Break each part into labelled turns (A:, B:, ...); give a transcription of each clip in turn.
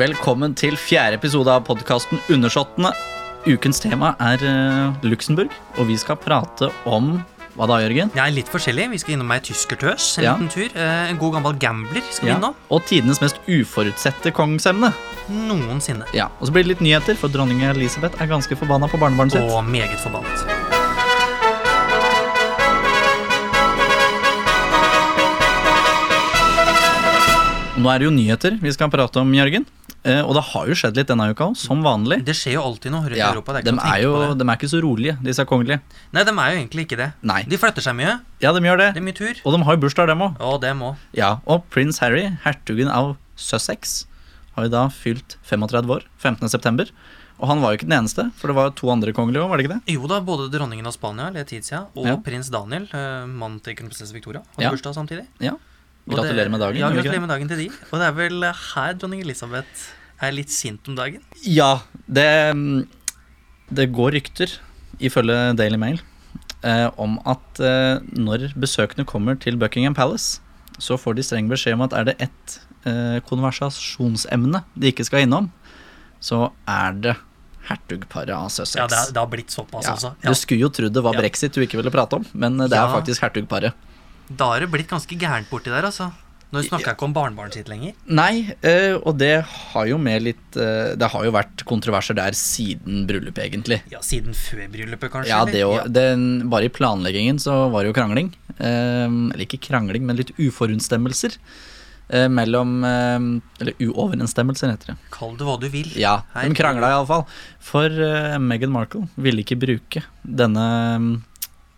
A: Velkommen til fjerde episode av podkasten Undersåttene. Ukens tema er eh, Luxembourg, og vi skal prate om Hva da, Jørgen?
B: Ja, litt forskjellig. Vi skal innom ei tyskertøs en
A: Ja.
B: liten tur. Eh, En god gammel gambler skal vi innom.
A: Og tidenes mest uforutsette kongsemne.
B: Noensinne.
A: Ja. Og så blir det litt nyheter, for dronning Elisabeth er ganske forbanna på barnebarnet sitt.
B: Og meget forbannet.
A: Og nå er det jo nyheter vi skal prate om, Jørgen. Eh, Og det har jo skjedd litt denne uka òg, som vanlig.
B: Det skjer jo alltid noe rundt i
A: Ja,
B: Europa. Det er
A: de,
B: ikke noe å
A: er
B: tenke
A: jo,
B: på det.
A: de er ikke så rolige, disse kongelige.
B: Nei, de er jo egentlig ikke det.
A: Nei.
B: De flytter seg mye.
A: Ja, de gjør det.
B: Det er mye tur.
A: Og de har jo bursdag, dem òg.
B: Og dem òg.
A: Ja, og prins Harry, hertugen av Sussex, har jo da fylt 35 år 15. september. Og han var jo ikke den eneste, for det var jo to andre kongelige òg, var det ikke det?
B: Jo da, både dronningen av Spania Letizia og
A: Ja.
B: prins Daniel, eh, mannen til kronprinsesse Victoria, hadde
A: Ja.
B: bursdag samtidig.
A: Ja.
B: Og
A: Gratulerer med dagen.
B: Ja,
A: gjorde du ikke
B: gratulerer med dagen til de. Og det er vel her dronning Elisabeth er litt sint om dagen.
A: det? Ja, det, mm, det går rykter, ifølge Daily Mail, eh, om at eh, når besøkende kommer til Buckingham Palace, så får de streng beskjed om at er det ett eh, konversasjonsemne de ikke skal innom, så er det hertugparet av Sussex.
B: Ja, det har, det har blitt såpass,
A: Ja.
B: altså.
A: Du
B: Ja.
A: skulle jo trodd det var
B: Ja.
A: brexit du ikke ville prate om, men eh, det er
B: Ja.
A: faktisk hertugparet.
B: Da har det blitt ganske gærent borti der, altså. Nå snakker jeg ikke om barnebarnet sitt lenger.
A: Nei, eh, og det har jo med litt eh, Det har jo vært kontroverser der siden bryllupet, egentlig.
B: Ja, siden før bryllupet, kanskje?
A: Ja,
B: eller?
A: det
B: Ja.
A: òg. Bare i planleggingen så var det jo krangling. Eh, eller ikke krangling, men litt uforutstemmelser. Eh, mellom eh, Eller uoverensstemmelser, heter det.
B: Kall det hva du vil.
A: Ja,
B: Her-
A: de krangla iallfall. For eh, Meghan Markle ville ikke bruke denne mm,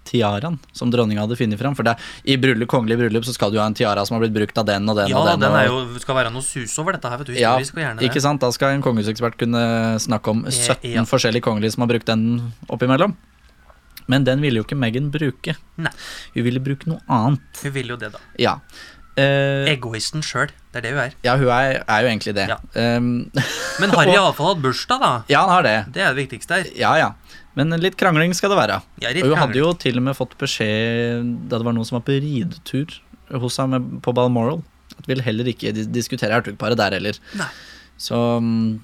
A: tiaraen som dronninga hadde funnet fram. For det, i bryllup, kongelig bryllup så skal du ha en tiara som har blitt brukt av den og den
B: Ja,
A: og den.
B: den er
A: og,
B: jo, skal være noe sus over dette her, vet du.
A: ja,
B: Historisk og gjerne det.
A: ikke sant? Da skal en kongehusekspert kunne snakke om 17
B: ja.
A: forskjellige kongelige som har brukt den oppimellom. Men den ville jo ikke Meghan bruke.
B: Nei.
A: Hun ville bruke noe annet.
B: Hun vil jo det, da.
A: Ja. Eh,
B: Egoisten sjøl. Det er det hun er.
A: ja, hun er, er jo egentlig det.
B: Ja.
A: Ehm,
B: Men Harry har iallfall hatt bursdag, da.
A: ja, han har det.
B: Det er det viktigste her.
A: Ja, ja. Men litt krangling skal det være.
B: Jeg er litt
A: Og hun hadde
B: kranglet.
A: jo til og med fått beskjed da det var noen som var på ridetur hos ham på Balmoral, at vi vil heller ikke dis- diskutere hertugparet der heller.
B: Nei.
A: Så mm,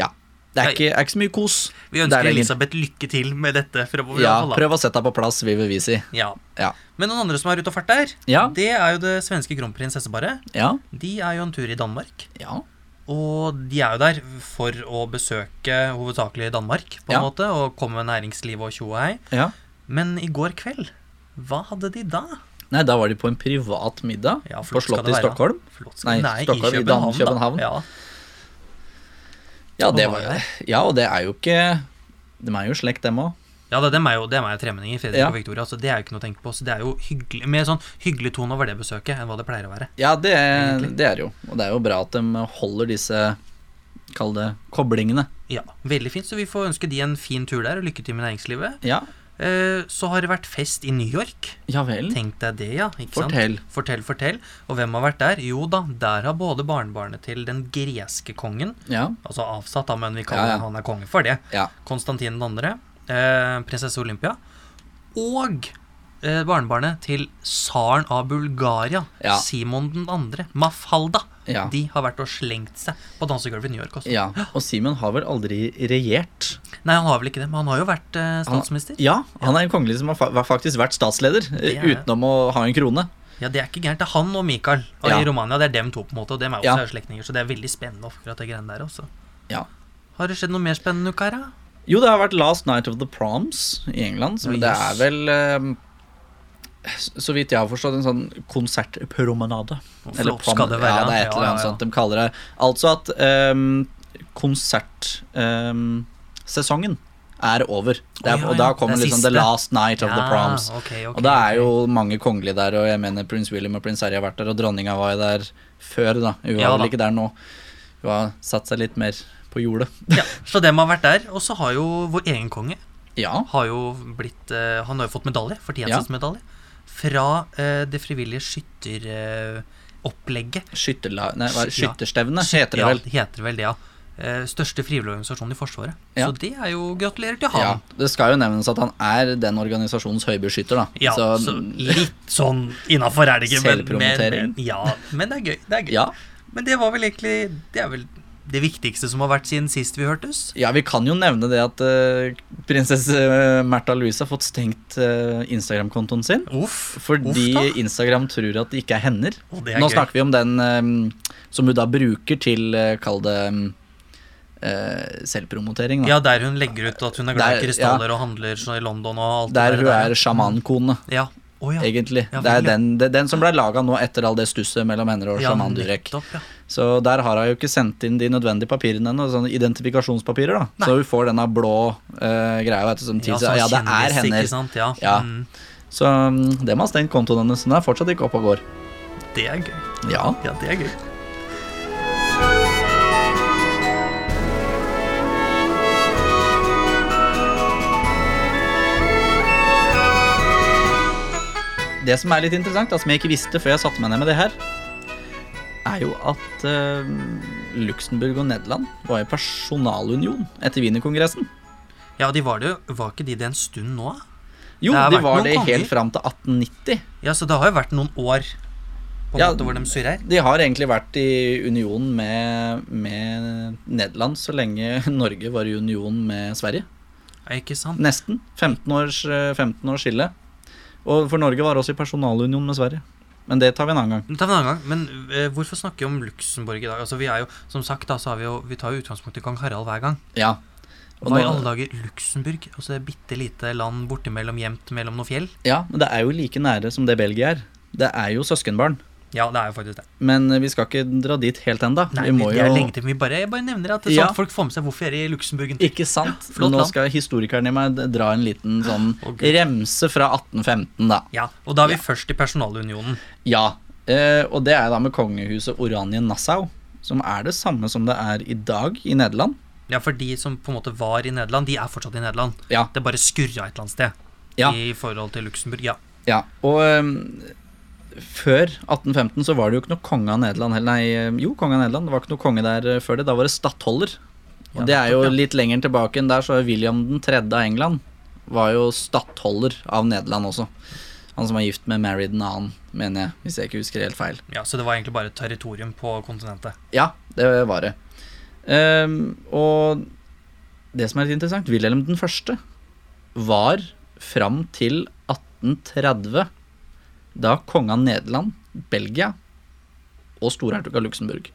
A: ja. Det er
B: Nei.
A: ikke, er ikke så mye kos. Det
B: Vi
A: er
B: ønsker
A: det ingen-
B: Elisabeth lykke til med dette framover.
A: Ja,
B: iallfall, da.
A: prøv å sette deg på plass, vil vi si.
B: Ja.
A: Ja.
B: Men noen andre som er ute og farter,
A: Ja.
B: det er jo det svenske kronprinsesseparet.
A: Ja.
B: De er jo en tur i Danmark.
A: ja.
B: Og de er jo der for å besøke hovedsakelig Danmark, på en
A: Ja.
B: måte, og komme med næringsliv og tjo og hei.
A: ja.
B: Men i går kveld, hva hadde de da?
A: Nei, da var de på en privat middag
B: Ja,
A: på
B: flott skal
A: Slottet
B: det
A: i
B: være.
A: Stockholm.
B: Flott,
A: Nei,
B: skal- nei,
A: Stockholm, i
B: i
A: Dan-
B: København.
A: København.
B: Da. Ja.
A: Ja,
B: Og
A: det
B: var
A: var,
B: jo der.
A: ja, og det er jo ikke De er jo slekt, dem òg.
B: ja, det, dem er jo, dem er jo tremenninger, Fredrik
A: Ja.
B: og Victoria, så det er jo ikke noe å tenke på. Så det er jo hyggelig, mer sånn hyggelig tone over det besøket enn hva det pleier å være.
A: Ja, det,
B: Egentlig.
A: det er det jo. Og det er jo bra at de holder disse Kall det koblingene.
B: Ja, Veldig fint, så vi får ønske de en fin tur der, og lykke til med næringslivet.
A: Ja,
B: Eh, så har det vært fest i New York.
A: ja vel.
B: Tenk deg det, ja. ikke sant?
A: Mm. Fortell.
B: Fortell, fortell. Og hvem har vært der? Jo da, der har både barnebarnet til den greske kongen,
A: Ja.
B: altså avsatt, da, men vi
A: Ja,
B: kaller
A: ja.
B: han er konge for det,
A: ja.
B: Konstantin 2., eh, prinsesse Olympia, og eh, barnebarnet til tsaren av Bulgaria,
A: Ja.
B: Simon 2., Mafalda.
A: Ja.
B: De har vært og slengt seg på dansegulvet i New York også.
A: ja. Og Simen har vel aldri regjert?
B: Nei, han har vel ikke det, men han har jo vært eh, statsminister.
A: Ja, han er en kongelig som har fa faktisk vært statsleder, eh,
B: Det er det.
A: utenom å ha en krone.
B: Ja, Det er ikke gærent. Det er han og Michael og
A: Ja.
B: i Romania. Det er dem to, på en måte, og dem er jo
A: Ja.
B: også slektninger, så det er veldig spennende akkurat det greiene der også.
A: Ja.
B: Har det skjedd noe mer spennende, Kara?
A: Jo, det har vært Last Night of the Proms i England, som
B: Å,
A: det
B: yes.
A: er vel eh, s- så vidt jeg har forstått, en sånn konsertpromenade.
B: Og
A: Eller
B: flott skal
A: prom-
B: det være,
A: Ja, det er
B: ja,
A: et eller annet
B: ja, ja.
A: sånt de kaller det. Altså at konsertsesongen er over. Det er,
B: Å, ja,
A: og da
B: ja.
A: kommer
B: Det er
A: liksom The
B: siste.
A: Last Night of the Proms.
B: ok, ok,
A: Og det er
B: ok.
A: jo mange kongelige der, og jeg mener prins William og prins Harry har vært der, og dronninga var jo der før, da. Hun var
B: Ja, da.
A: vel ikke der nå. Hun har satt seg litt mer på jordet.
B: ja, Så dem har vært der. Og så har jo vår egen konge
A: Ja.
B: har jo blitt, eh, Han har jo fått medalje, fortjenestesmedalje, fra eh, det frivillige eh, skytteropplegget.
A: Skytterla, nei, hva er det?
B: Ja.
A: Skytterstevne heter det vel.
B: Ja, heter det vel det, ja. Eh, Største frivillige organisasjon i Forsvaret.
A: Ja.
B: Så det er jo Gratulerer til
A: Ja,
B: han.
A: Det skal jo nevnes at han er den organisasjonens høybeskytter, da.
B: Ja, så, litt sånn innafor er det ikke, men, men,
A: Selvpromotering.
B: men, ja, men det er gøy. Det er gøy.
A: ja.
B: Men det var vel egentlig Det er vel det viktigste som har vært siden sist vi hørtes.
A: Ja, vi kan jo nevne det at eh, prinsesse eh, Märtha Louise har fått stengt eh, Instagram-kontoen sin.
B: Uff.
A: Fordi
B: uff da.
A: Instagram tror at det ikke er hender.
B: Og det er
A: Nå
B: gøy.
A: snakker vi om den eh, som hun da bruker til, eh, kall det eh, selvpromotering, da.
B: Ja, der hun legger ut at hun er glad
A: Der-
B: i krystaller og handler så i London og alt
A: der hun er
B: der.
A: sjamankone,
B: Ja. Å ja.
A: egentlig.
B: Ja,
A: det
B: vel,
A: er
B: ja.
A: den, det, er den som ble laga nå etter all det stusset mellom henne og
B: Ja,
A: sjaman Durek.
B: nettopp, ja.
A: Så der har hun jo ikke sendt inn de nødvendige papirene ennå, sånne identifikasjonspapirer, da. Så hun får denne blå eh, greia, vet du, som
B: Ja,
A: tilsier
B: sånn
A: ja, ja, det er
B: kjendis,
A: hender.
B: Ikke sant? Ja.
A: Ja.
B: Mm,
A: Så mm, det må ha stengt kontoen hennes. Den er fortsatt ikke oppe og går.
B: det er gøy.
A: Ja.
B: Ja, det er gøy.
A: Det som er litt interessant, da, som jeg ikke visste før jeg satte meg ned med det her, er jo at eh, Luxembourg og Nederland var i personalunion etter Wienerkongressen.
B: Ja, de var det jo. Var ikke de det en stund nå? da?
A: Jo,
B: Det har
A: de
B: vært
A: var
B: noen
A: det
B: ganger.
A: helt fram til 1890.
B: Ja, så det har jo vært noen år på en
A: Ja.
B: måte hvor de surrer.
A: De har egentlig vært i union med, med Nederland så lenge Norge var i union med Sverige.
B: Ja, ikke sant?
A: Nesten. 15 års, eh, 15 års skille. Og for Norge var også i personalunion med Sverige. Men det tar vi en annen gang.
B: Men Ta en annen gang, men eh, hvorfor snakke om Luxembourg i dag? Altså, vi er jo, som sagt, da, så har vi jo, vi tar jo utgangspunkt i kong Harald hver gang.
A: Ja. Og
B: Hva i
A: nå-
B: alle dager? Luxembourg? Altså det bitte lite land bortimellom gjemt mellom noen fjell?
A: Ja, men det er jo like nære som det Belgia er. Det er jo søskenbarn.
B: Ja, det er jo faktisk det.
A: Men eh, vi skal ikke dra dit helt enda.
B: Nei,
A: vi må
B: det
A: jo
B: er lenge til. Vi bare, jeg bare nevner at det,
A: Ja.
B: sånn at folk får med seg hvorfor jeg er i Luxembourg. en tur.
A: Ikke sant?
B: Ja, flott
A: Nå
B: land.
A: skal historikeren i meg dra en liten sånn
B: Å, Gud.
A: remse fra 1815, da.
B: Ja, og da er vi først i personalunionen.
A: Ja. Eh, og det er da med kongehuset Oranien-Nassau, som er det samme som det er i dag i Nederland.
B: Ja, for de som på en måte var i Nederland, de er fortsatt i Nederland.
A: Ja.
B: Det bare skurra et eller annet sted
A: Ja.
B: i forhold til Luxembourg. Ja.
A: ja. Og eh, før 1815 så var det jo ikke noe konge av Nederland heller. Nei, eh, jo, konge av Nederland. Det var ikke noe konge der eh, før det. Da var det stattholder. Og
B: Ja,
A: det er jo
B: nettopp, ja.
A: litt lenger tilbake enn der, så er William 3. av England var jo stattholder av Nederland også. Han som var gift med Mary den annen, mener jeg, hvis jeg ikke husker helt feil.
B: ja, Så det var egentlig bare et territorium på kontinentet.
A: Ja, det var det. Ehm, og det som er litt interessant, Wilhelm den første var fram til 1830 da kongen av Nederland, Belgia og storhertug av Luxembourg.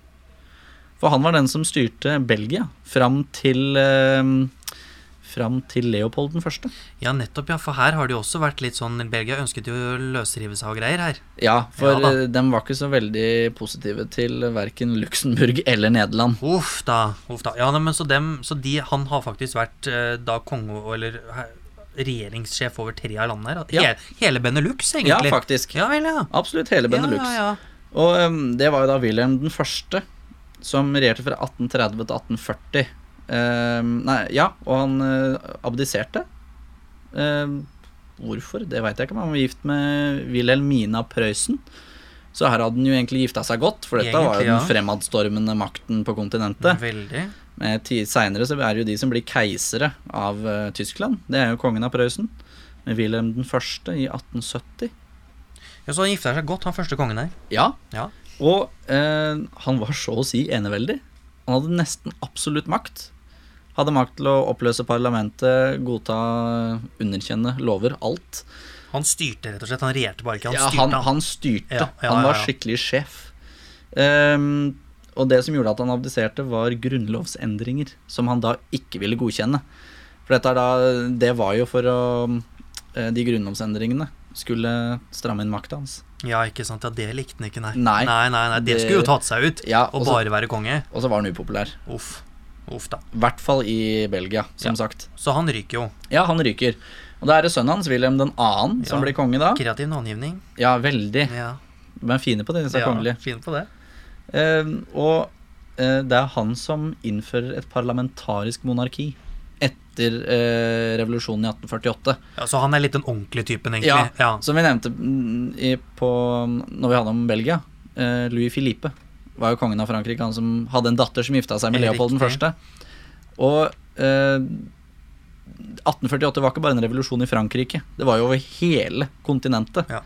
A: For han var den som styrte Belgia fram til ehm, Fram til Leopold den første.
B: Ja, nettopp, ja. For her har det jo også vært litt sånn Belgia ønsket jo å løsrive seg og greier her.
A: Ja, for
B: Ja da.
A: eh, dem var ikke så veldig positive til verken Luxembourg eller Nederland.
B: Uff da. Uff da. Ja, nei, men så, dem, så de, han har faktisk vært eh, da konge eller he- regjeringssjef over tre av landene her. da.
A: Ja.
B: Hele, hele Benelux,
A: Ja,
B: egentlig.
A: faktisk.
B: Ja vel, ja.
A: Absolutt hele Benelux.
B: Ja, ja, ja.
A: Og ehm, det var jo da Wilhelm den første, som regjerte fra 1830 til 1840. Ehm, nei, ja, og han eh, abdiserte. Ehm, hvorfor? Det veit jeg ikke, men han var gift med Wilhelmina av Prøysen. Så her hadde han jo egentlig gifta seg godt, for dette var
B: Egentlig,
A: jo den
B: ja. Mm.
A: fremadstormende makten på kontinentet.
B: Veldig.
A: Men ti- Seinere så er det jo de som blir keisere av eh, Tyskland. Det er jo kongen av Prøysen. Med Wilhelm den første i 1870.
B: Ja, Så han gifta seg godt, han første kongen her.
A: Ja,
B: Ja.
A: Og eh, han var så å si eneveldig. Han hadde nesten absolutt makt. Hadde makt til å oppløse parlamentet, godta, underkjenne lover, alt.
B: Han styrte, rett og slett. Han regjerte bare ikke, han
A: ja,
B: styrte.
A: han, han styrte.
B: Ja, ja,
A: han
B: ja,
A: var
B: ja.
A: skikkelig sjef. Ehm, og det som gjorde at han abdiserte, var grunnlovsendringer, som han da ikke ville godkjenne. For dette er da, det var jo for å eh, De grunnlovsendringene skulle stramme inn makta hans.
B: Ja, ikke sant. Ja, det likte han ikke, nei.
A: Nei.
B: nei, nei, nei. Det
A: Det-
B: skulle jo tatt seg ut.
A: Ja,
B: Og
A: og så-
B: bare være konge.
A: Og så var han upopulær.
B: Uff. Uff da.
A: I hvert fall i Belgia, som
B: Ja.
A: sagt.
B: Så han ryker jo.
A: Ja, han ryker. Og da er det sønnen hans, Wilhelm 2., som
B: Ja.
A: blir konge da.
B: Kreativ navngivning.
A: Ja, veldig.
B: Ja.
A: De er fine på det, disse
B: ja,
A: kongelige.
B: Fin på det.
A: Eh, og eh, det er han som innfører et parlamentarisk monarki etter eh, revolusjonen i 1848.
B: Ja, så han er litt den ordentlige typen, egentlig.
A: Ja,
B: ja.
A: Som vi nevnte mm, i, på, når vi hadde om Belgia. eh, Louis Philippe var jo kongen av Frankrike, han som hadde en datter som gifta seg med
B: Eh,
A: Leopold den første.
B: riktig.
A: Og eh, 1848 var ikke bare en revolusjon i Frankrike, det var jo over hele kontinentet.
B: Ja.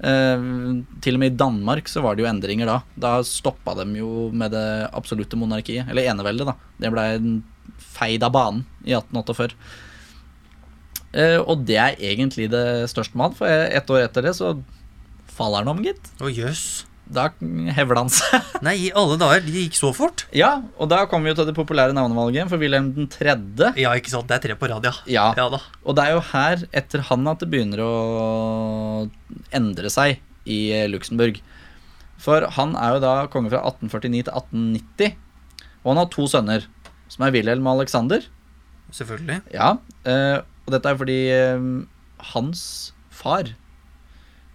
A: Eh, til og med i Danmark så var det jo endringer da. Da stoppa dem jo med det absolutte monarkiet, eller eneveldet, da. Det blei feid av banen i 1848. Eh, og det er egentlig det største med han, for ett år etter det så faller han om, gitt.
B: Å, jøs.
A: Da hever han seg.
B: Nei, i alle dager, det gikk så fort.
A: Ja, og da kommer vi jo til det populære navnevalget for Wilhelm 3.
B: Ja, ikke sant. Det er tre på rad, ja.
A: Ja,
B: Ja da.
A: og det er jo her, etter han, at det begynner å endre seg i eh, Luxembourg. For han er jo da konge fra 1849 til 1890, og han har to sønner, som er Wilhelm og Alexander.
B: Selvfølgelig.
A: Ja, eh, og dette er fordi eh, hans far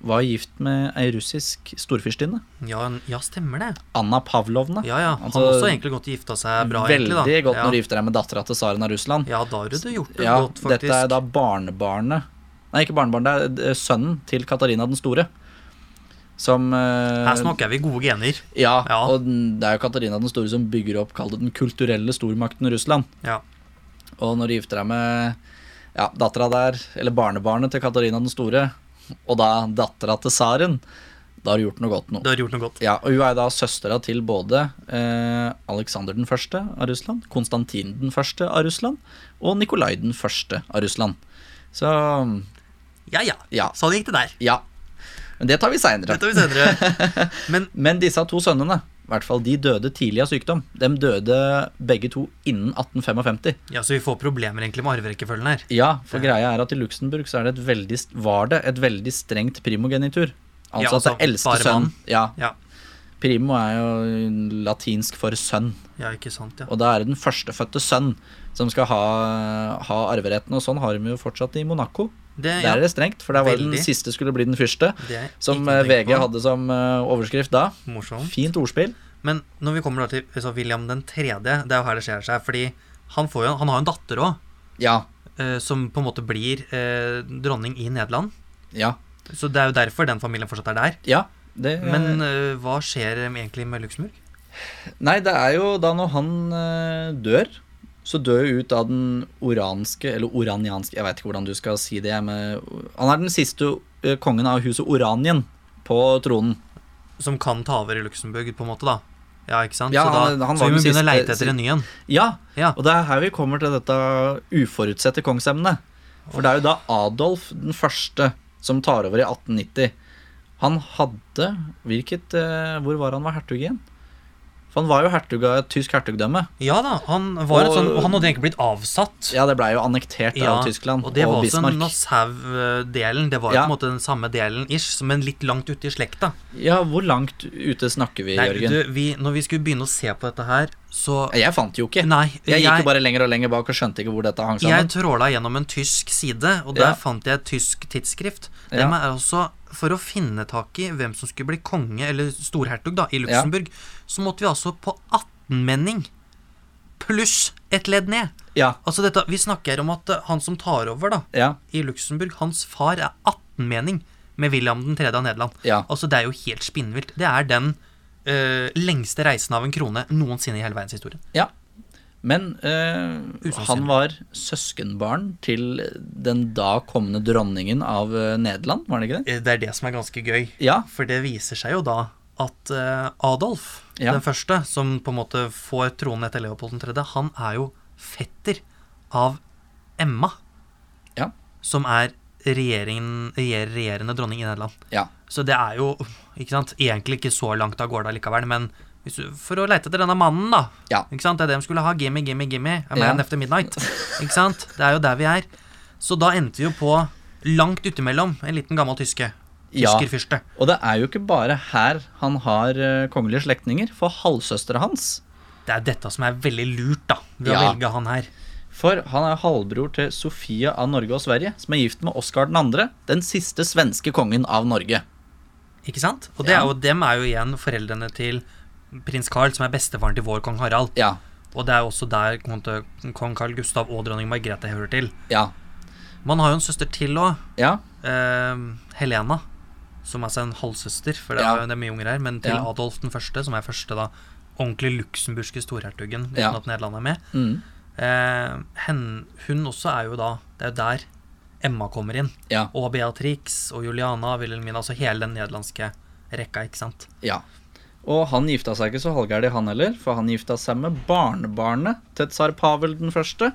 A: var gift med ei russisk storfyrstinne,
B: Ja, n- ja, stemmer det.
A: Anna Pavlovna.
B: Ja, ja. Han
A: Altså,
B: har også egentlig godt gifta seg bra,
A: Veldig
B: egentlig. da.
A: godt når du gifter deg med dattera til tsaren av Russland.
B: Ja, da har du det gjort det
A: Ja,
B: godt, faktisk.
A: dette er da barnebarnet Nei, ikke barnebarnet, det er eh, sønnen til Katarina den store. Som eh,
B: Her snakker vi gode gener.
A: ja,
B: Ja.
A: og den- det er jo Katarina den store som bygger opp kall det den kulturelle stormakten Russland.
B: Ja.
A: Og når du gifter deg med ja, dattera der, eller barnebarnet til Katarina den store, og da dattera til tsaren, da har du gjort noe godt nå.
B: Du har gjort noe godt.
A: Ja, og Hun er da søstera til både eh, Aleksander den første av Russland, Konstantin den første av Russland og Nikolai den første av Russland. Så
B: Ja, ja.
A: ja.
B: Sånn gikk det der.
A: ja. Men det tar vi seinere.
B: Det tar vi senere. Men
A: Men disse to sønnene i hvert fall, de døde tidlig av sykdom. De døde begge to innen 1855.
B: ja, så vi får problemer egentlig med arverekkefølgen her.
A: Ja, for greia er at i Luxembourg så er det et veldig, var det et veldig strengt primogenitur. Altså,
B: Ja, altså,
A: at det eldste
B: bare
A: sønnen
B: mannen.
A: ja,
B: Ja.
A: Primo er jo latinsk for sønn.
B: Ja, ikke sant, ja.
A: Og da er det den førstefødte sønn som skal ha, ha arveretten, og sånn har de jo fortsatt i Monaco.
B: Det,
A: Der
B: ja.
A: er det strengt, for der var det den
B: Veldig.
A: siste skulle bli den første.
B: det er
A: Som
B: ikke noe
A: eh,
B: å tenke
A: VG
B: på.
A: hadde som eh, overskrift da.
B: Morsomt.
A: Fint ordspill.
B: Men når vi kommer da til så William den tredje, det er jo her det skjer seg, fordi han, får jo, han har jo en datter òg,
A: Ja.
B: som på en måte blir eh, dronning i Nederland.
A: Ja.
B: Så det er jo derfor den familien fortsatt er der.
A: ja det,
B: Men eh, hva skjer egentlig med Luxembourg?
A: Nei, det er jo da når han eh, dør, så dør jo ut av den oranske, eller oranianske, jeg veit ikke hvordan du skal si det jeg, med Han er den siste eh, kongen av huset Oranien på tronen.
B: Som kan ta over i Luxembourg, på en måte, da. Ja, ikke sant?
A: Ja,
B: så da,
A: han- han
B: så
A: var den
B: vi må begynne å
A: siste-
B: leite etter en ny en.
A: Ja,
B: Ja.
A: Og det er her vi kommer til dette uforutsette kongsemnet. For det er jo da Adolf den første som tar over i 1890. Han hadde hvilket, eh, Hvor var han var hertug igjen? For han var jo hertug av et tysk hertugdømme.
B: ja da, han var et
A: Og-
B: sånn Han hadde egentlig blitt avsatt.
A: Ja, det blei jo annektert
B: Ja,
A: av Tyskland
B: og
A: og,
B: det var også
A: Bismarck.
B: Nassau-delen. Det var jo
A: Ja.
B: på en måte den samme delen ish, men litt langt ute i slekta.
A: Ja, hvor langt ute snakker vi,
B: Nei,
A: Jørgen?
B: du, vi, når vi skulle begynne å se på dette her, så
A: Jeg fant jo ikke.
B: Nei,
A: Jeg
B: jeg,
A: gikk jo
B: jeg,
A: bare lenger og lenger bak og skjønte ikke hvor dette hang sammen.
B: tråla gjennom en tysk side, og
A: Ja.
B: der fant jeg et tysk tidsskrift.
A: Ja.
B: Dem er også For å finne tak i hvem som skulle bli konge, eller storhertug, da, i Luxembourg, så måtte vi altså på 18-menning pluss et ledd ned.
A: Ja,
B: Altså dette, Vi snakker om at eh, han som tar over, da,
A: ja,
B: i Luxembourg, hans far er 18-mening med William 3. av Nederland.
A: ja.
B: Altså, det er jo helt spinnvilt. Det er den eh, lengste reisen av en krone noensinne i hele verdenshistorien.
A: Men eh,
B: Usannsynlig.
A: han var søskenbarn til den da kommende dronningen av eh, Nederland, var det ikke det?
B: Eh, Det er det som er ganske gøy.
A: Ja,
B: For det viser seg jo da at eh, Adolf,
A: Ja.
B: den første, som på en måte får tronen etter Leopold 3., han er jo fetter av Emma,
A: Ja.
B: som er regjeringen, regjer- regjerende dronning i Nederland.
A: Ja.
B: Så det er jo ikke sant, egentlig ikke så langt av gårde allikevel, men hvis du, for å leite etter denne mannen, da.
A: Ja.
B: Ikke sant? Det er det de skulle ha. Gimme, gimme, gimme. A
A: Ja.
B: man after midnight. Ikke sant? Det er jo der vi er. Så da endte vi jo på langt utimellom en liten gammel tyske.
A: ja.
B: Tyskerfyrste.
A: Og det er jo ikke bare her han har eh, kongelige slektninger, for halvsøstera hans
B: Det er dette som er veldig lurt, da, ved å
A: Ja.
B: velge han her.
A: For han er halvbror til Sofia av Norge og Sverige, som er gift med Oskar 2., den siste svenske kongen av Norge.
B: Ikke sant? Og det
A: Ja.
B: er jo, dem er jo igjen foreldrene til prins Carl, som er bestefaren til vår kong Harald.
A: Ja,
B: Og det er jo også der kong til- kong Carl Gustav og dronning Margrethe hører til.
A: ja,
B: Man har jo en søster til òg,
A: ja.
B: Helena, som altså er en halvsøster, for det,
A: Ja.
B: er, det er mye unger her, men til
A: Ja.
B: Adolf den første, som er første da ordentlig luxemburgske storhertugen, uten
A: Ja.
B: at Nederland er med.
A: Mm.
B: Eh, hen, hun også er jo da Det er jo der Emma kommer inn.
A: Ja.
B: Og Beatrix og Juliana Wilhelmina, altså hele den nederlandske rekka, ikke sant.
A: Ja. Og han gifta seg ikke så halvgæren, han heller, for han gifta seg med barnebarnet til tsar Pavel den første.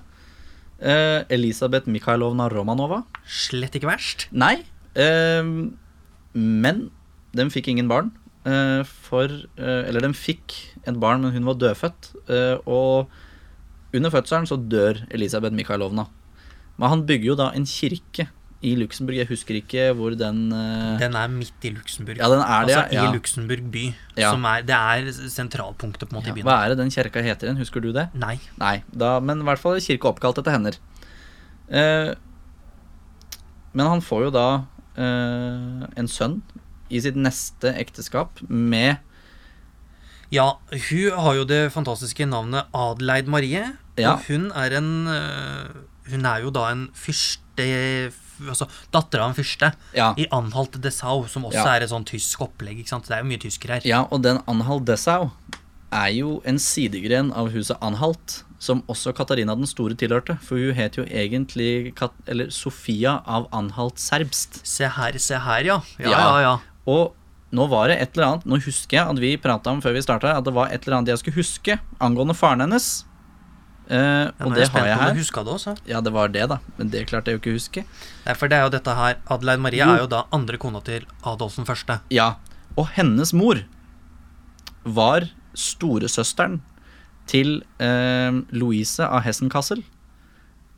A: Eh, Elisabeth Mikhailovna Romanova.
B: Slett ikke verst.
A: Nei. Eh, men de fikk ingen barn. Eh, for eh, Eller de fikk et barn, men hun var dødfødt. Eh, og under fødselen så dør Elisabeth Mikhailovna. Men han bygger jo da en kirke i Luxembourg. Jeg husker ikke hvor den eh,
B: Den er midt i Luxembourg.
A: Ja, den er det,
B: altså
A: ja.
B: i Luxembourg by.
A: Ja.
B: Som er, det er sentralpunktet på en måte
A: ja.
B: i byen.
A: Hva er det den kjerka heter igjen? Husker du det?
B: Nei.
A: Nei, da, men i hvert fall er kirka oppkalt etter hender. Eh, men han får jo da eh, en sønn i sitt neste ekteskap med
B: Ja, hun har jo det fantastiske navnet Adeleid Marie.
A: Ja.
B: Og hun er en øh, Hun er jo da en fyrste Altså datter av en fyrste
A: Ja,
B: i Anhalt Dessau, som også
A: Ja.
B: er et sånn tysk opplegg. ikke sant? Det er jo mye tyskere her.
A: ja og den Anhalt Dessau er jo en sidegren av huset Anhalt, som også Katarina den store tilhørte. For hun het jo egentlig Kat eller Sofia av Anhalt serbst.
B: Se her, se her, ja. Ja, ja,
A: Ja.
B: ja.
A: Og nå var det et eller annet Nå husker jeg at vi prata om før vi starta, at det var et eller annet jeg skulle huske angående faren hennes. Eh,
B: Ja,
A: og
B: nå er
A: det har
B: spent
A: jeg
B: på om
A: her.
B: Du huska det også.
A: Ja, det var det, da. Men det klarte jeg jo ikke å huske.
B: Nei, for det er jo dette her Adeleid Marie
A: Jo.
B: er jo da andre kona til Adolf den første.
A: Ja. Og hennes mor var storesøsteren til eh, Louise av Hessen-Kassel,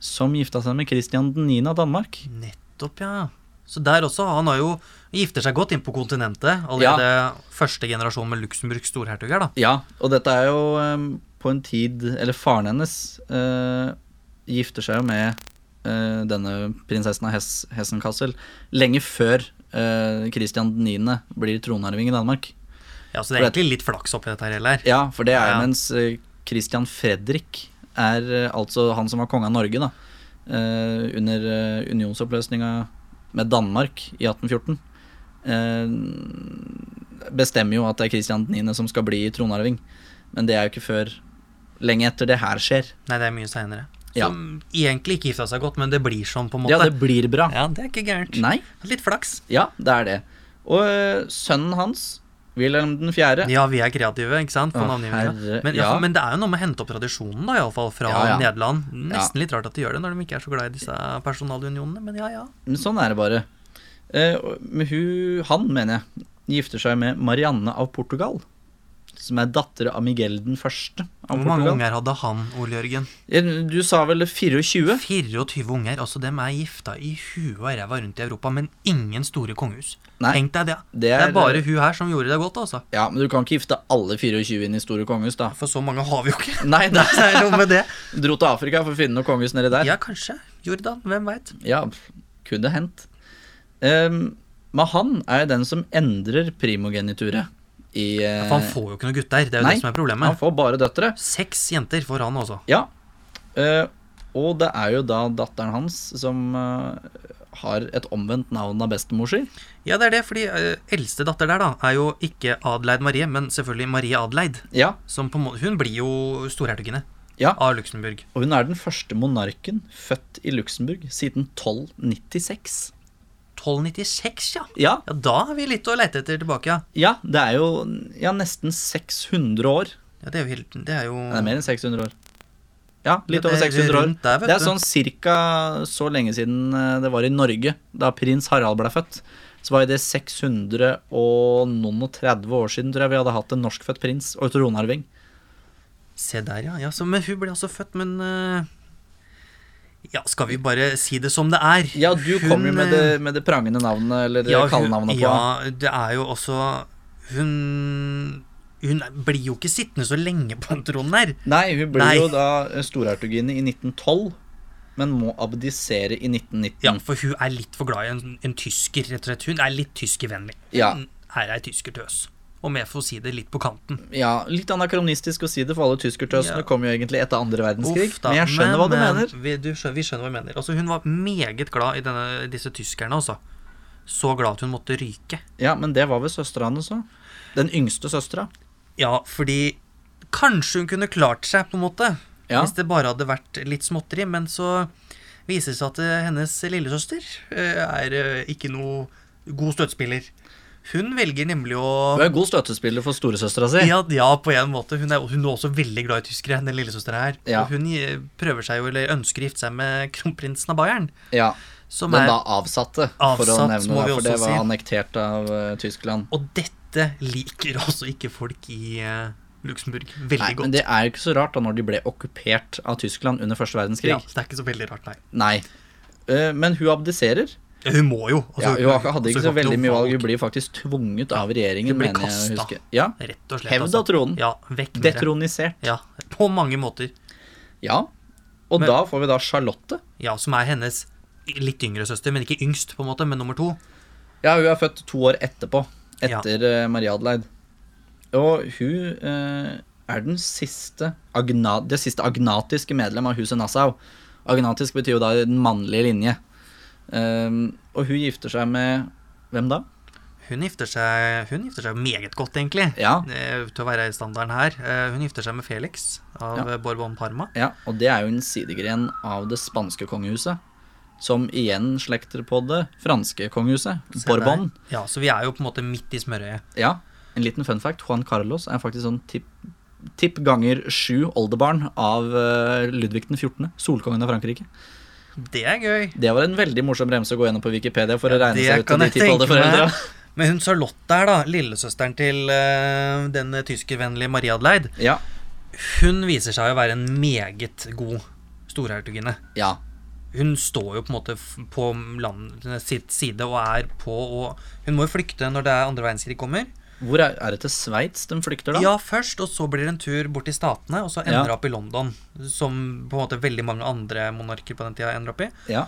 A: som gifta seg med Christian 9. av Danmark.
B: Nettopp, ja. Så der også, han har jo gifter seg godt inn på kontinentet. Allerede første generasjon med Luxemburgs storhertuger, da.
A: Ja, og dette er jo eh, på en tid Eller faren hennes eh, gifter seg jo med eh, denne prinsessen av Hess, Hessen-Kassel lenge før eh, Christian 9. blir tronarving i Danmark.
B: Ja, Så
A: For
B: det er
A: det-
B: egentlig litt flaks oppi dette her heller.
A: Ja, for det er
B: Ja.
A: mens eh, Christian Fredrik er eh, altså han som var konge av Norge, da. eh, under eh, unionsoppløsninga med Danmark i 1814. eh, bestemmer jo at det er Christian 9. som skal bli tronarving. Men det er jo ikke før lenge etter det her skjer.
B: Nei, det er mye seinere.
A: Ja.
B: Som egentlig ikke gifta seg godt, men det blir sånn, på en måte.
A: Ja, det blir bra.
B: Ja, det er ikke gærent.
A: Nei?
B: Litt flaks.
A: Ja, det er det. Og eh, sønnen hans, Wilhelm den 4.
B: Ja, vi er kreative, ikke sant? På
A: Å,
B: navngivninga.
A: herre-
B: Men, ja,
A: ja.
B: for- men det er jo noe med å hente opp tradisjonen, da, iallfall, fra
A: Ja, ja.
B: Nederland. Nesten litt rart at de gjør det når de ikke er så glad i disse personalunionene, men ja, ja.
A: Men sånn er det bare. Eh, og- men hun, han, mener jeg, gifter seg med Marianne av Portugal. Som er datter av Miguel den første av
B: Hvor mange
A: Portugal.
B: unger hadde han, Ole Jørgen?
A: Eh, Du sa vel 24?
B: 24 unger. Altså, dem er gifta i huet og ræva rundt i Europa, men ingen store kongehus.
A: Nei.
B: Tenk deg det.
A: Det
B: Det er,
A: er-
B: bare hun her som gjorde det godt, altså.
A: Ja, men du kan ikke gifte alle 24 inn i Store kongehus, da.
B: For så mange har vi jo ikke.
A: Nei, det
B: Det er noe med det.
A: Dro til Afrika for å finne noe kongehus nedi der.
B: Ja, kanskje. Jordan. Hvem veit.
A: Ja, pff, kunne hendt. Ehm, men han er den som endrer primogenituret i eh,
B: For han får jo ikke noen gutter. Det er jo
A: Nei,
B: det som er
A: Han
B: problemet.
A: får bare døtre.
B: Seks jenter får han, altså.
A: Ja. eh, og det er jo da datteren hans som eh, har et omvendt navn av bestemor si.
B: Ja, det er det, fordi eh, eldste datter der, da, er jo ikke Adeleid Marie, men selvfølgelig Marie Adeleid.
A: Ja,
B: Som på en måte, hun blir jo storhertuginne
A: Ja.
B: av Luxembourg.
A: og hun er den første monarken født i Luxembourg siden 1296.
B: 1296, ja.
A: Ja,
B: Ja, Da er vi litt å leite etter tilbake, ja.
A: ja det er jo ja, nesten 600 år.
B: ja det er jo helt Det er jo
A: Nei, det er mer enn 600 år. Ja, litt
B: Ja,
A: over
B: det er
A: 600 år.
B: rundt der, vet
A: Det er
B: du.
A: sånn cirka så lenge siden eh, det var i Norge, da prins Harald ble født. Så var jo det 600 og noen og 30 år siden, tror jeg, vi hadde hatt en norskfødt prins og tronarving.
B: Se der, ja. ja så, men hun ble altså født, men eh, Ja, skal vi bare si det som det er?
A: Ja, du
B: Hun,
A: kom jo med det,
B: eh,
A: med det prangende navnet, eller det
B: ja, hun-
A: kallenavnet på. Ja.
B: Ja, det er jo også Hun Hun blir jo ikke sittende så lenge på den tronen her.
A: Nei, hun ble
B: Nei.
A: jo da storhertugine i 1912, men må abdisere i 1919.
B: Ja, for hun er litt for glad i en, en tysker, rett og slett. Hun er litt tyskervennlig.
A: Ja.
B: Hun er ei tyskertøs. Om jeg får si det litt på kanten.
A: Ja, Litt anakronistisk å si det, for alle tyskertøsene
B: Ja.
A: kom jo egentlig etter andre verdenskrig.
B: Uff da,
A: men jeg skjønner hva du
B: men-
A: mener.
B: Vi, du skjønner, vi skjønner hva du mener. Altså, hun var meget glad i denne, disse tyskerne, altså. Så glad at hun måtte ryke.
A: Ja, Men det var vel søstera hennes òg? Den yngste søstera.
B: Ja, fordi kanskje hun kunne klart seg, på en måte.
A: Ja.
B: Hvis det bare hadde vært litt småtteri. Men så viser det seg at eh, hennes lillesøster eh, er eh, ikke noe god støttespiller. Hun velger nemlig
A: Hun
B: å
A: er god støttespiller for storesøstera si.
B: ja, ja, på en måte. Hun er, hun er også veldig glad i tyskere, den lillesøstera her.
A: Ja.
B: Og hun eh, prøver seg jo, eller ønsker å gifte seg med kronprinsen av Bayern.
A: Ja,
B: Som
A: Den
B: er,
A: da avsatte, for å
B: Avsatt,
A: nevne
B: må
A: det,
B: vi
A: for det
B: også
A: var
B: si.
A: annektert av eh, Tyskland.
B: og dette liker også ikke folk i eh, Luxembourg veldig
A: Nei, men
B: godt.
A: det er jo ikke så rart da når de ble okkupert av Tyskland under første verdenskrig.
B: Ja, så det er ikke så veldig rart, nei.
A: Nei. Eh, Men hun abdiserer.
B: Ja, hun må jo.
A: Ja,
B: altså,
A: hun hadde ikke
B: altså,
A: så
B: hun har
A: veldig
B: noe
A: mye valg.
B: valg.
A: Hun blir faktisk tvunget av regjeringen,
B: Hun blir
A: mener jeg å
B: kastet.
A: huske. Ja.
B: Rett og slett. altså.
A: Hevd av tronen.
B: Ja, vekk med det.
A: Detronisert.
B: Ja, på mange måter.
A: Ja. Og
B: Men-
A: da får vi da Charlotte.
B: Ja, som er hennes litt yngre søster, men ikke yngst, på en måte, men nummer to.
A: Ja, hun er født to år etterpå.
B: Ja.
A: Etter eh, Marie Adelaide. Og hun eh, er den siste agna, det siste agnatiske medlem av huset Nassau. Agnatisk betyr jo da den mannlige linje. Ehm, og hun gifter seg med Hvem da?
B: Hun gifter seg, hun gifter seg meget godt, egentlig.
A: Ja.
B: Eh, Til å være i standarden her. Eh, Hun gifter seg med Felix av
A: Ja.
B: eh, Bourbon Parma.
A: Ja, og det er jo en sidegren av det spanske kongehuset. Som igjen slekter på det franske kongehuset,
B: Se der.
A: Bourbon.
B: Ja, så vi er jo på en måte midt i smørøyet.
A: Ja, En liten fun fact. Juan Carlos er faktisk sånn tipp, tipp ganger sju oldebarn av eh, Ludvig den 14., solkongen av Frankrike.
B: Det er gøy.
A: Det var en veldig morsom remse å gå gjennom på Wikipedia for å
B: Ja,
A: regne
B: det
A: seg ut til
B: kan
A: de
B: jeg
A: tipp
B: tenke
A: oldeforeldra.
B: meg. Men hun Charlotte her, da, lillesøsteren til eh, den tyskervennlige Maria Adelaide,
A: Ja,
B: hun viser seg å være en meget god storhertuginne.
A: ja,
B: hun står jo på en måte f- på landets sitt side og er på og Hun må jo flykte når det er andre verdenskrig kommer.
A: Hvor er, er det til Sveits de flykter, da?
B: Ja, først, og så blir det en tur bort til Statene, og så ender
A: Ja.
B: det opp i London. Som på en måte veldig mange andre monarker på den tida ender opp i.
A: Ja.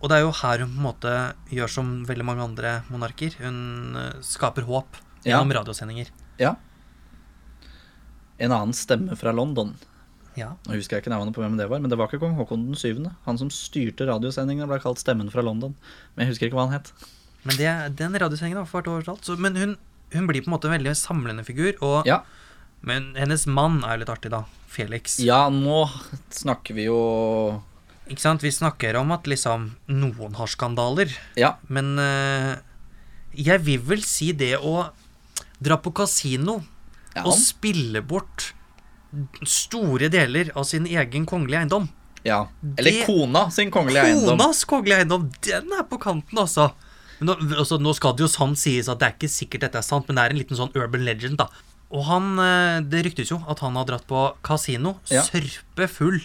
B: Og det er jo her hun på en måte gjør som veldig mange andre monarker. Hun eh, skaper håp
A: Ja.
B: gjennom radiosendinger.
A: ja. En annen stemme fra London.
B: Ja.
A: Nå husker jeg ikke navnet på hvem det var, men det var ikke kong Haakon den syvende. Han som styrte radiosendingene ble kalt Stemmen fra London. Men jeg husker ikke hva han het.
B: Men det, den radiosendingen har vært overalt. Så, men hun, hun blir på en måte en veldig samlende figur. Og,
A: Ja.
B: Men hennes mann er jo litt artig, da. Felix.
A: Ja, nå snakker vi jo
B: Ikke sant? Vi snakker om at liksom noen har skandaler,
A: Ja,
B: men eh, jeg vil vel si det å dra på kasino
A: ja,
B: og spille bort store deler av sin egen kongelige eiendom.
A: ja. Eller
B: det-
A: kona sin kongelige eiendom.
B: Konas kongelige eiendom, den er på kanten, altså. Men nå, altså, nå skal det jo sant sies at det er ikke sikkert dette er sant, men det er en liten sånn urban legend, da. Og han, eh, det ryktes jo at han har dratt på kasino,
A: Ja.
B: sørpe full,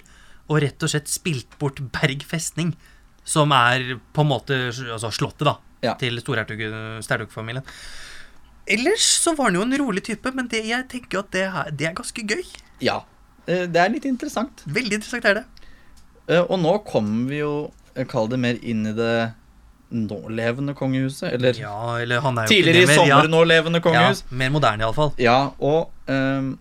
B: og rett og slett spilt bort Berg festning, som er på en måte altså, slottet, da,
A: Ja.
B: til storhertug- Sterduk-familien. Ellers så var han jo en rolig type, men det, jeg tenker at det, her, det er ganske gøy.
A: Ja. Eh, Det er litt interessant.
B: Veldig interessant er det.
A: Eh, Og nå kommer vi jo, eh, kall det mer inn i det nålevende kongehuset. Eller
B: Ja, eller han er jo ikke
A: tidligere i
B: det mer, ja.
A: sommer nålevende kongehus.
B: Ja, mer moderne, iallfall.
A: Ja, og ehm,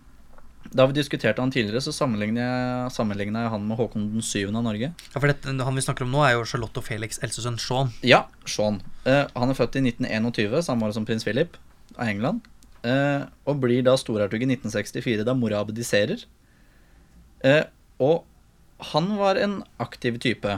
A: da vi diskuterte han tidligere, så sammenligna jeg, sammenlignet jeg han med Håkon den syvende av Norge.
B: Ja, for dette, han vi snakker om nå, er jo Charlotte og Felix' eldstesønn Sean.
A: Ja, Sean. Eh, han er født i 1921, samme år som prins Philip av England. eh, og blir da storhertug i 1964, da mora abdiserer. Eh, og han var en aktiv type.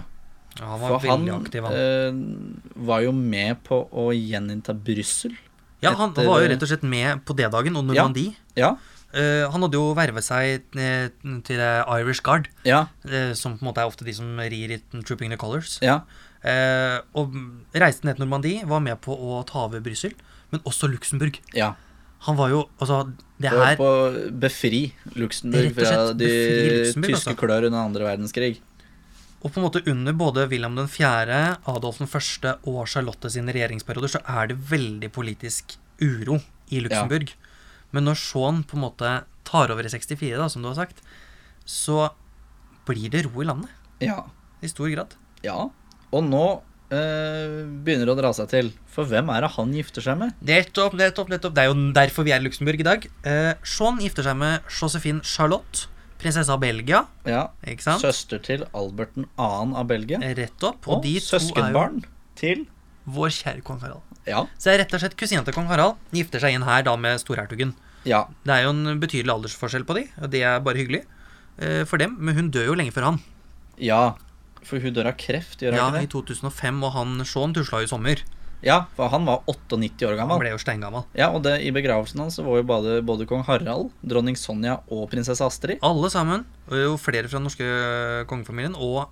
B: Ja, han var veldig aktiv, han.
A: eh, var jo med på å gjeninnta Brussel.
B: ja, han
A: etter-
B: var jo rett og slett med på D-dagen og
A: Ja.
B: Normandie.
A: Ja.
B: Eh, han hadde jo vervet seg eh, til eh, Irish Guard,
A: Ja.
B: eh, som på en måte er ofte de som rir i Trooping the Colors.
A: ja.
B: Eh, og reiste ned til Normandie, var med på å ta over Brussel, men også Luxembourg.
A: ja.
B: Han var jo Altså, det
A: Og
B: her
A: på å befri Luxembourg
B: Rett og
A: fra
B: slett
A: de
B: befri Luxembourg,
A: tyske
B: altså.
A: klør under andre verdenskrig.
B: Og på en måte under både William 4., Adolf 1. og Charlotte sine regjeringsperioder så er det veldig politisk uro i Luxembourg. Men når Shaun på en måte tar over i 64, da, som du har sagt, så blir det ro i landet.
A: Ja.
B: I stor grad.
A: Ja, og nå eh, begynner det å dra seg til. For hvem er det han gifter seg med?
B: Nettopp, nettopp, nettopp. Det er jo derfor vi er i Luxembourg i dag. Eh, Shaun gifter seg med Josephine Charlotte, prinsesse av Belgia.
A: Ja,
B: Ikke sant?
A: Søster til Albert 2. av Belgia.
B: Rett opp. Og,
A: Og
B: de to er jo
A: søskenbarn til
B: vår kjære kong Harald.
A: Ja.
B: Så det er rett og slett kusina til kong Harald. Gifter seg inn her da med storhertugen.
A: ja.
B: Det er jo en betydelig aldersforskjell på de, og det er bare hyggelig eh, for dem. Men hun dør jo lenge før han.
A: Ja. For hun dør av kreft, gjør hun
B: Ja,
A: ikke
B: i 2005, og han Sean tusla i sommer.
A: det? Ja, for han var 98 år
B: Han
A: gammel.
B: ble jo steingammal.
A: Ja, og det, I begravelsen hans så var jo både, både kong Harald, dronning Sonja og prinsesse Astrid.
B: Alle sammen, og jo flere fra den norske øh, kongefamilien, og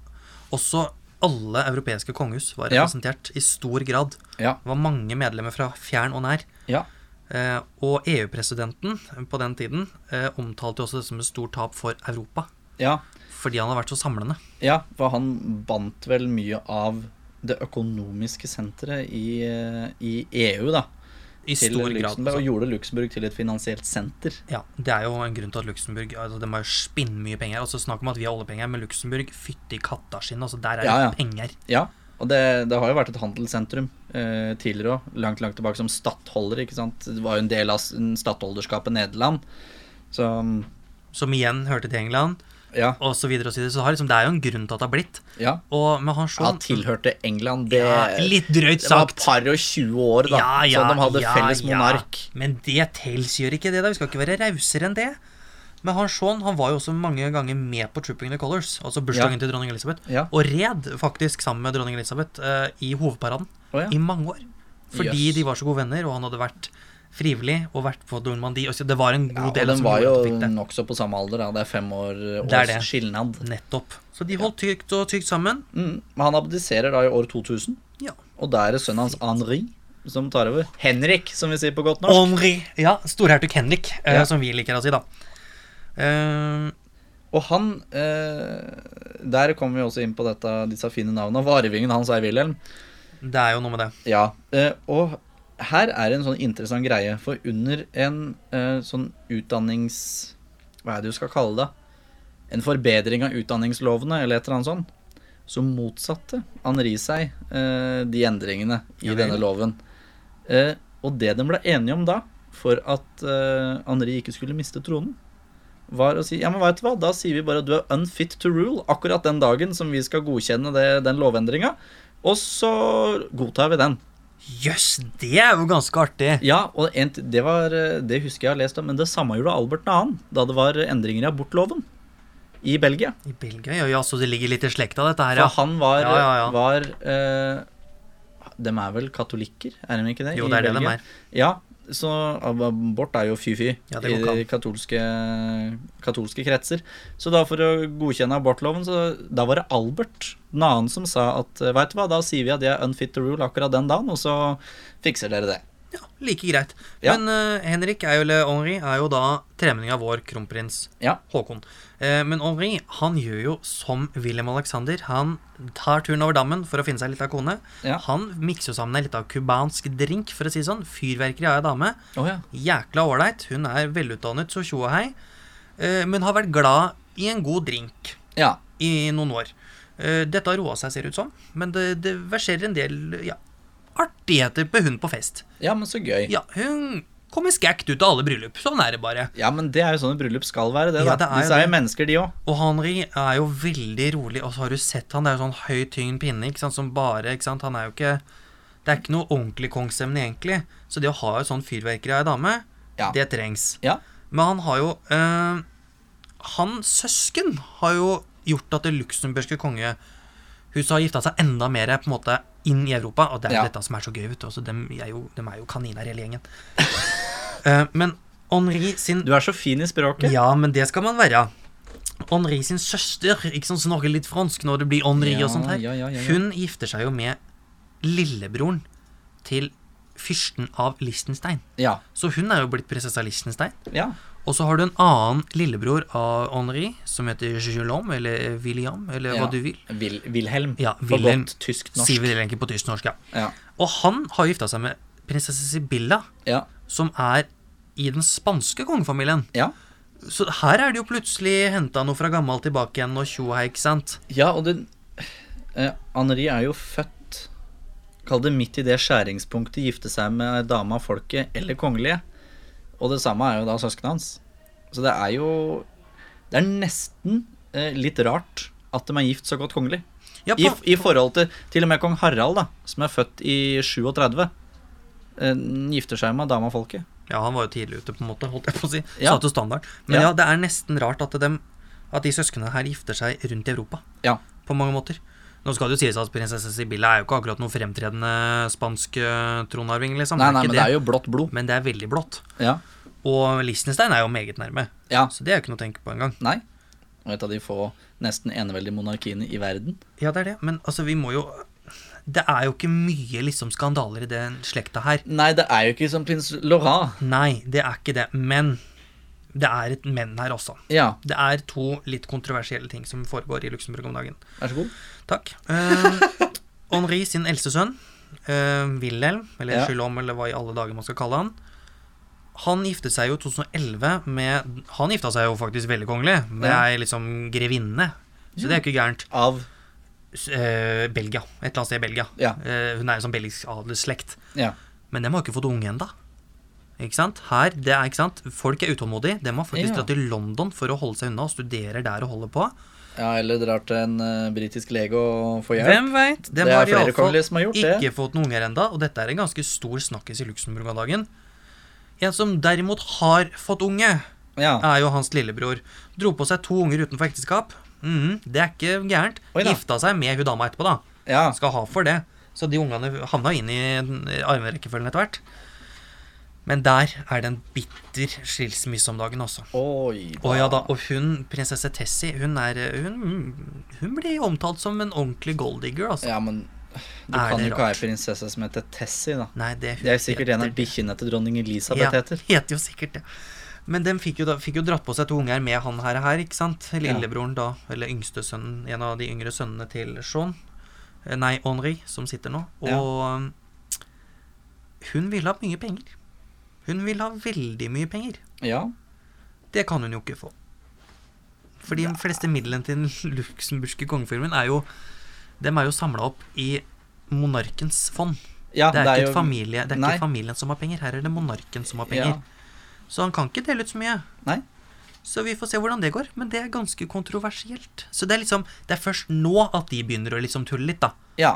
B: også alle europeiske kongehus var
A: Ja.
B: representert i stor grad.
A: Ja,
B: Det var mange medlemmer fra fjern og nær.
A: ja,
B: Eh, og EU-presidenten på den tiden eh, omtalte jo også det som et stort tap for Europa.
A: ja,
B: Fordi han har vært så samlende.
A: ja, for han bandt vel mye av det økonomiske senteret i, eh, i EU, da.
B: I
A: Til
B: stor grad.
A: Luxembourg, og gjorde Luxembourg til et finansielt senter.
B: Ja, Det er jo en grunn til at Luxembourg altså, De har jo spinnmye penger. Altså Snakk om at vi har oljepenger, men Luxembourg, fytti katta sin, altså, der er det
A: Ja, ja.
B: penger.
A: Ja, og det, det har jo vært et handelssentrum eh, tidligere òg. Langt langt tilbake som stattholder. ikke sant? Det var jo en del av s- stattholderskapet Nederland. Så
B: Som igjen hørte til England,
A: ja.
B: og så videre og så videre. Så det har liksom, det er jo en grunn til at det har blitt.
A: ja.
B: Og, men
A: Han
B: han Sean
A: tilhørte England. Det,
B: Sånn. Ja, litt drøyt
A: det var
B: sagt.
A: et par og 20 år, da. så de hadde felles monark.
B: Ja. Men det tells gjør ikke det, da. Vi skal ikke være rausere enn det. Men han Sean han var jo også mange ganger med på Trooping the Colors, altså bursdagen
A: Ja.
B: til dronning Elizabeth.
A: Ja.
B: Og red faktisk sammen med dronning Elizabeth eh, i hovedparaden
A: Å, ja.
B: i mange år. Fordi
A: Jøss.
B: de var så gode venner, og han hadde vært frivillig og vært på Normandie. Og så det var en
A: Ja,
B: god
A: og
B: del
A: de
B: som
A: var
B: gjorde
A: jo
B: at de fikk det.
A: nokså på samme alder. da Det er fem år eh,
B: Det er
A: års
B: det.
A: skilnad.
B: Nettopp. Så de holdt tykt og tykt sammen.
A: Mm. Men han abdiserer da i år 2000,
B: Ja.
A: og da er det sønnen hans Henri som tar over. Henrik, som vi sier på godt norsk.
B: Henri. Ja, storhertug Henrik, eh,
A: Ja.
B: som vi liker å si, da. Eh,
A: Og han eh, Der kommer vi også inn på dette, disse fine navnene. Varevingen hans er Wilhelm.
B: det er jo noe med det.
A: Ja. Eh, og her er en sånn interessant greie, for under en eh, sånn utdannings... Hva er det du skal kalle det? En forbedring av utdanningslovene, eller et eller annet sånt. Så motsatte Henri seg eh, de endringene i
B: Ja vel.
A: denne loven. Eh, og det de ble enige om da, for at eh, Henri ikke skulle miste tronen, var å si ja, men vet du hva, da sier vi bare at du er unfit to rule akkurat den dagen som vi skal godkjenne det, den lovendringa, og så godtar vi den.
B: Jøss, det er jo ganske artig.
A: Ja, og en, t- det, var, eh, det husker jeg har lest om, men det samme gjorde Albert 2. da det var endringer i abortloven i Belgia.
B: I Belgia? Ja, ja, så det ligger litt i slekta, dette her,
A: For
B: ja.
A: han var,
B: Ja, ja, ja.
A: var eh, De er vel katolikker, er de ikke det?
B: Jo,
A: i
B: det er det de
A: Belgia?
B: er.
A: Ja, så abort er jo fy-fy
B: Ja, det
A: i
B: går ikke
A: de katolske, katolske kretser. Så da for å godkjenne abortloven, så da var det Albert, den annen, som sa at veit du hva, da sier vi at de er unfit to rule akkurat den dagen, og så fikser dere det.
B: Ja, like greit.
A: Ja.
B: Men eh, Henrik er jo, eller Henri er jo da tremenning av vår kronprins
A: Ja.
B: Haakon. Eh, men Henri han gjør jo som William Alexander. Han tar turen over dammen for å finne seg litt av kone.
A: Ja.
B: Han mikser jo sammen en liten cubansk drink, for å si det sånn. Fyrverkeri av ei dame.
A: Oh, ja.
B: Jækla ålreit. Hun er velutdannet, så tjo og hei. Eh, men har vært glad i en god drink.
A: ja.
B: i noen år. Eh, Dette har roa seg, ser det ut som, men det, det verserer en del ja, artigheter på hun på fest.
A: Ja, men så gøy.
B: Ja, hun kommer skækt ut av alle bryllup. Sånn er det bare.
A: Ja, men det er jo sånn et bryllup skal være, det. da.
B: Ja, det er jo
A: Disse er
B: det.
A: jo mennesker, de òg.
B: Og Henri er jo veldig rolig, og så har du sett han, det er jo sånn høy, tynn pinne, ikke sant, som bare ikke sant, Han er jo ikke Det er ikke noe ordentlig kongsemne, egentlig. Så det å ha et sånn fyrverkeri av ei dame,
A: Ja.
B: det trengs.
A: Ja.
B: Men han har jo eh, Han søsken har jo gjort at det luxemburgske kongehuset har gifta seg enda mer på en måte inn i Europa. Og det er jo
A: Ja.
B: dette som er så gøy. Vet du. Altså, dem, er jo, dem er jo kaniner, hele gjengen. Eh, men Henri sin
A: Du er så fin i språket.
B: Ja, men det skal man være. Henri sin søster ikke sånn snakker litt fransk når det blir Henri
A: Ja,
B: og sånt her.
A: ja, ja, ja, ja.
B: Hun gifter seg jo med lillebroren til fyrsten av Liechtenstein.
A: Ja.
B: Så hun er jo blitt prinsesse av Liechtenstein.
A: ja.
B: Og så har du en annen lillebror av Henri, som heter Julom, eller William, eller
A: Ja.
B: hva du vil.
A: Vil Wilhelm.
B: Ja,
A: På
B: Wilhelm.
A: godt tysk norsk.
B: Sier vi det egentlig på tysk-norsk, ja.
A: Ja.
B: Og han har gifta seg med prinsesse Sibilla,
A: Ja.
B: som er i den spanske kongefamilien.
A: ja.
B: Så her er det jo plutselig henta noe fra gammelt tilbake igjen, og tjo og hei, ikke sant?
A: Ja, og det eh, Anneri er jo født Kall det midt i det skjæringspunktet gifte seg med ei dame av folket eller kongelige. Og det samme er jo da søskenen hans. Så det er jo Det er nesten eh, litt rart at de er gift så godt kongelig.
B: Ja,
A: I,
B: på,
A: I forhold til til og med kong Harald, da, som er født i 37, eh, gifter seg med ei dame av folket.
B: ja han var jo tidlig ute, på en måte, holdt jeg på å si.
A: Ja.
B: Satte jo standarden. Men
A: Ja.
B: ja. det er nesten rart at, dem, at de søsknene her gifter seg rundt i Europa,
A: Ja.
B: på mange måter. Nå skal det jo sies at prinsesse Sibylla er jo ikke akkurat noen fremtredende spansk eh, tronarving, liksom.
A: Nei, nei, men
B: ikke
A: det er jo blått blod.
B: men det er veldig blått.
A: Ja.
B: Og Liechtenstein er jo meget nærme,
A: ja.
B: så det er jo ikke noe å tenke på engang.
A: Nei. Og et av de få nesten eneveldige monarkiene i verden.
B: Ja, det er det, men altså, vi må jo Det er jo ikke mye liksom skandaler i den slekta her.
A: Nei, det er jo ikke som prins Laurent.
B: Nei, det er ikke det, men det er et men her også.
A: Ja,
B: Det er to litt kontroversielle ting som foregår i Luxembourg om dagen.
A: vær så god.
B: Takk. Eh, Henri sin eldste sønn, eh, Wilhelm, eller
A: Ja.
B: Guillaume, eller hva i alle dager man skal kalle han, han giftet seg jo i 2011 med Han gifta seg jo faktisk veldig kongelig, med
A: Ja.
B: ei liksom grevinne. Så det er jo ikke gærent.
A: Av
B: S- eh, Belgia. Et eller annet sted i Belgia.
A: Ja.
B: Eh, hun er en sånn belgisk adelsslekt.
A: Ja.
B: Men dem har jo ikke fått unge ennå. Ikke sant? Her, det er, ikke sant? Folk er utålmodige. Dem har faktisk
A: Ja.
B: dratt til London for å holde seg unna og studerer der og holder på.
A: ja, eller drar til en eh, britisk lege og får hjelp.
B: Hvem veit? Dem
A: Det er
B: har
A: flere
B: iallfall
A: kongelige som har gjort det.
B: ikke fått noen unger ennå, og dette er en ganske stor snakkis i Luxembourg om dagen. En som derimot har fått unge,
A: Ja.
B: er jo hans lillebror. Dro på seg to unger utenfor ekteskap. Mhm, det er ikke gærent.
A: Oi da.
B: Gifta seg med hun dama etterpå, da.
A: ja.
B: Han skal ha for det. Så de ungene havna inn i arverekkefølgen etter hvert. Men der er det en bitter skilsmisse om dagen også.
A: Oi.
B: Å ja da, og hun, prinsesse Tessie, hun er Hun, hun blir omtalt som en ordentlig golddigger, altså.
A: Ja, men du
B: Er
A: kan
B: det
A: jo ikke ha ei prinsesse som heter Tessie, da.
B: Nei, det,
A: Det er sikkert en av bikkjene til dronning Elisabeth heter.
B: Ja, heter jo sikkert det. Men den fikk jo, da, fikk jo dratt på seg to unger med han her, her ikke sant? Lillebroren da, eller yngste sønnen, en av de yngre sønnene til Sean. Eh, Nei, Henri, som sitter nå. Og um, hun ville ha mye penger. Hun vil ha veldig mye penger.
A: Ja.
B: Det kan hun jo ikke få. For de fleste midlene til den luxemburgske kongefilmen er jo Dem er jo samla opp i monarkens fond.
A: ja
B: Det er, ikke, et familie, det er
A: Nei.
B: ikke familien som har penger, her er det monarken som har penger.
A: Ja.
B: Så han kan ikke dele ut så mye.
A: Nei.
B: Så vi får se hvordan det går, men det er ganske kontroversielt. Så det er liksom, det er først nå at de begynner å liksom tulle litt, da.
A: Ja.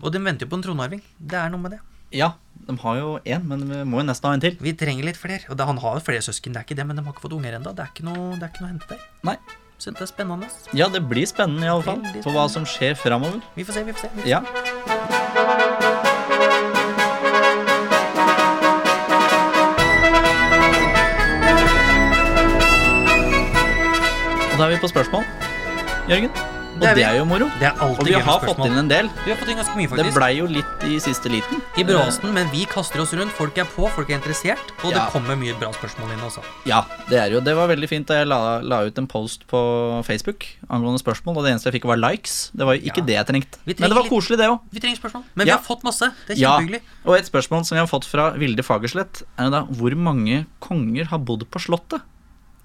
B: Og de venter jo på en tronarving. Det er noe med det.
A: ja. De har jo én, men vi må jo nesten ha en til.
B: Vi trenger litt flere. Og det, han har jo flere søsken, det er ikke det, men de har ikke fått unger ennå. Det, er ikke noe- det er ikke noe å hente der.
A: Nei.
B: Så det er spennende. ass.
A: Ja, det blir spennende iallfall.
B: Veldig
A: For hva som skjer framover.
B: Vi får se, vi får se. Vi får se.
A: Ja. Og da er vi på spørsmål, Jørgen. Og
B: Det
A: det
B: er
A: er,
B: vi.
A: jo moro.
B: Det er
A: Og
B: alltid
A: vi
B: gøy med
A: har fått inn
B: spørsmål.
A: en del.
B: Vi har fått inn ganske mye,
A: Det
B: faktisk.
A: blei jo litt i siste liten.
B: I bråsten, men vi kaster oss rundt. Folk er på, folk er interessert, og det
A: Ja.
B: kommer mye bra spørsmål inn også.
A: Ja, det er jo Det var veldig fint da jeg la, la ut en post på Facebook angående spørsmål, og det eneste jeg fikk, var likes. Det var jo ikke
B: Ja.
A: det jeg trengte.
B: Vi trenger
A: Men det var
B: litt-
A: koselig, det òg.
B: Vi trenger spørsmål, men vi
A: Ja.
B: har fått masse. Det er
A: Ja.
B: kjempehyggelig.
A: Og et spørsmål som vi har fått fra Vilde Fagerslett, er jo da hvor mange konger har bodd på Slottet?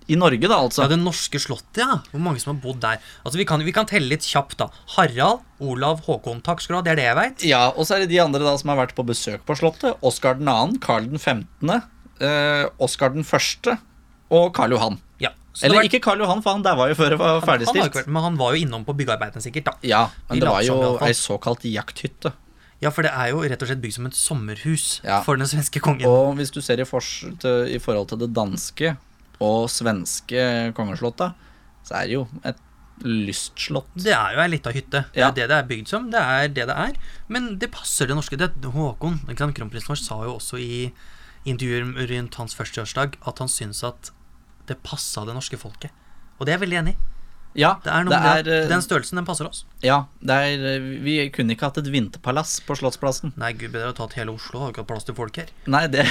A: I Norge, da, altså.
B: Ja, det norske slottet, ja. Hvor mange som har bodd der. Altså, Vi kan, vi kan telle litt kjapt, da. Harald, Olav, Håkon. Takk skal du ha, det er det jeg veit.
A: Ja, og så er det de andre da som har vært på besøk på Slottet. Oskar 2., Karl 15., eh, Oskar 1. og Karl Johan.
B: Ja. så det
A: Eller
B: var-
A: ikke Karl Johan, for han der var jo før det var
B: Han har ikke vært,
A: ferdigstilt.
B: men han var jo innom på byggearbeidene, sikkert. da.
A: Ja,
B: Vi
A: men det
B: later
A: var
B: som i
A: jo
B: alle fall.
A: ei såkalt jakthytte.
B: Ja, for det er jo rett og slett bygd som et sommerhus
A: Ja.
B: for den svenske kongen.
A: Og hvis du ser i, fors til, i forhold til det danske og svenske kongeslottet, så er det jo et lystslott.
B: Det er jo ei lita hytte. Det
A: Ja.
B: er det det er bygd som. Det er det det er. Men det passer det norske. Det, Håkon, ikke sant? kronprinsen vår, sa jo også i intervjuer rundt hans førsteårsdag at han syns at det passa det norske folket. Og det er jeg veldig enig i.
A: Ja,
B: Det er noe med det.
A: er, eh,
B: Den størrelsen, den passer oss.
A: ja det er, eh, vi kunne ikke hatt et vinterpalass på Slottsplassen.
B: Nei, gud bedre å ta til hele Oslo. Har ikke hatt plass til folk her.
A: Nei, det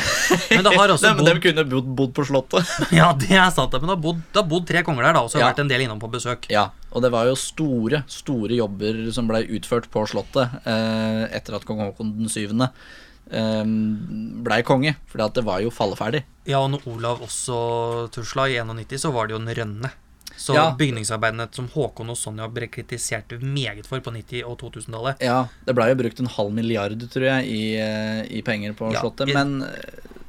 B: Men det har også
A: Nei, men
B: bodd
A: De kunne bodd, bodd på Slottet.
B: Ja, det er sant, men det har bodd, det har bodd tre konger der, da, og så har
A: Ja.
B: vært en del innom på besøk.
A: Ja, og det var jo store, store jobber som blei utført på Slottet eh, etter at kong Haakon den syvende eh, blei konge. Fordi at det var jo falleferdig.
B: Ja, og når Olav også tusla i 91, så var det jo en rønne. Så
A: Ja.
B: bygningsarbeidene som Håkon og Sonja ble kritisert meget for på 90- og 2000-tallet
A: Ja, det blei jo brukt en halv milliard, tror jeg, i, eh, i penger på
B: Ja,
A: Slottet.
B: i-
A: Men eh,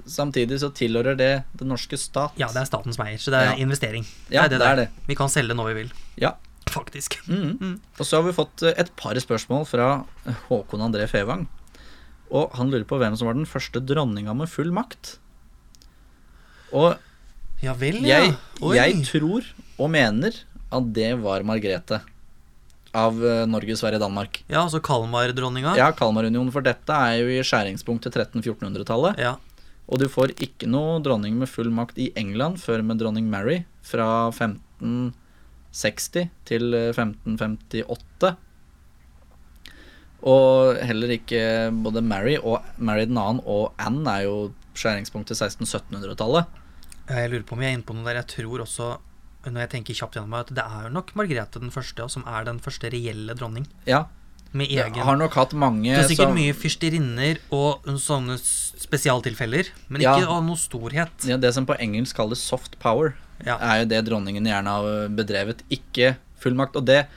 A: samtidig så tilhører det den norske stat.
B: Ja, det er statens meier, så det er
A: Ja.
B: investering.
A: Ja, det er
B: der.
A: det.
B: Vi kan selge det når vi vil.
A: Ja.
B: Faktisk.
A: Mhm. Og så har vi fått eh, et par spørsmål fra eh, Håkon André Fevang. Og han lurer på hvem som var den første dronninga med full makt. Og
B: Ja vel, ja.
A: jeg,
B: Oi.
A: jeg tror og mener at det var Margrethe av eh, Norge, Sverige, Danmark.
B: Ja, altså Kalmar-dronninga.
A: Ja, Kalmarunionen, for dette er jo i skjæringspunktet 1300-1400-tallet.
B: Ja.
A: Og du får ikke noe dronning med full makt i England før med dronning Mary fra 1560 til eh, 1558. Og heller ikke både Mary og Mary den annen og Anne er jo skjæringspunktet 1600-1700-tallet.
B: Ja, Jeg lurer på om jeg er inne på noe der. Jeg tror også, når jeg tenker kjapt gjennom meg, at det er jo nok Margrethe den første, ja, som er den første reelle dronning.
A: Ja,
B: Med
A: jeg
B: egen
A: har nok hatt mange
B: Det er sikkert
A: som-
B: mye fyrsterinner og sånne s- spesialtilfeller, men
A: Ja.
B: ikke av noe storhet.
A: ja, Det som på engelsk kalles soft power.
B: Ja.
A: er jo det dronningen gjerne har bedrevet, ikke fullmakt. Og det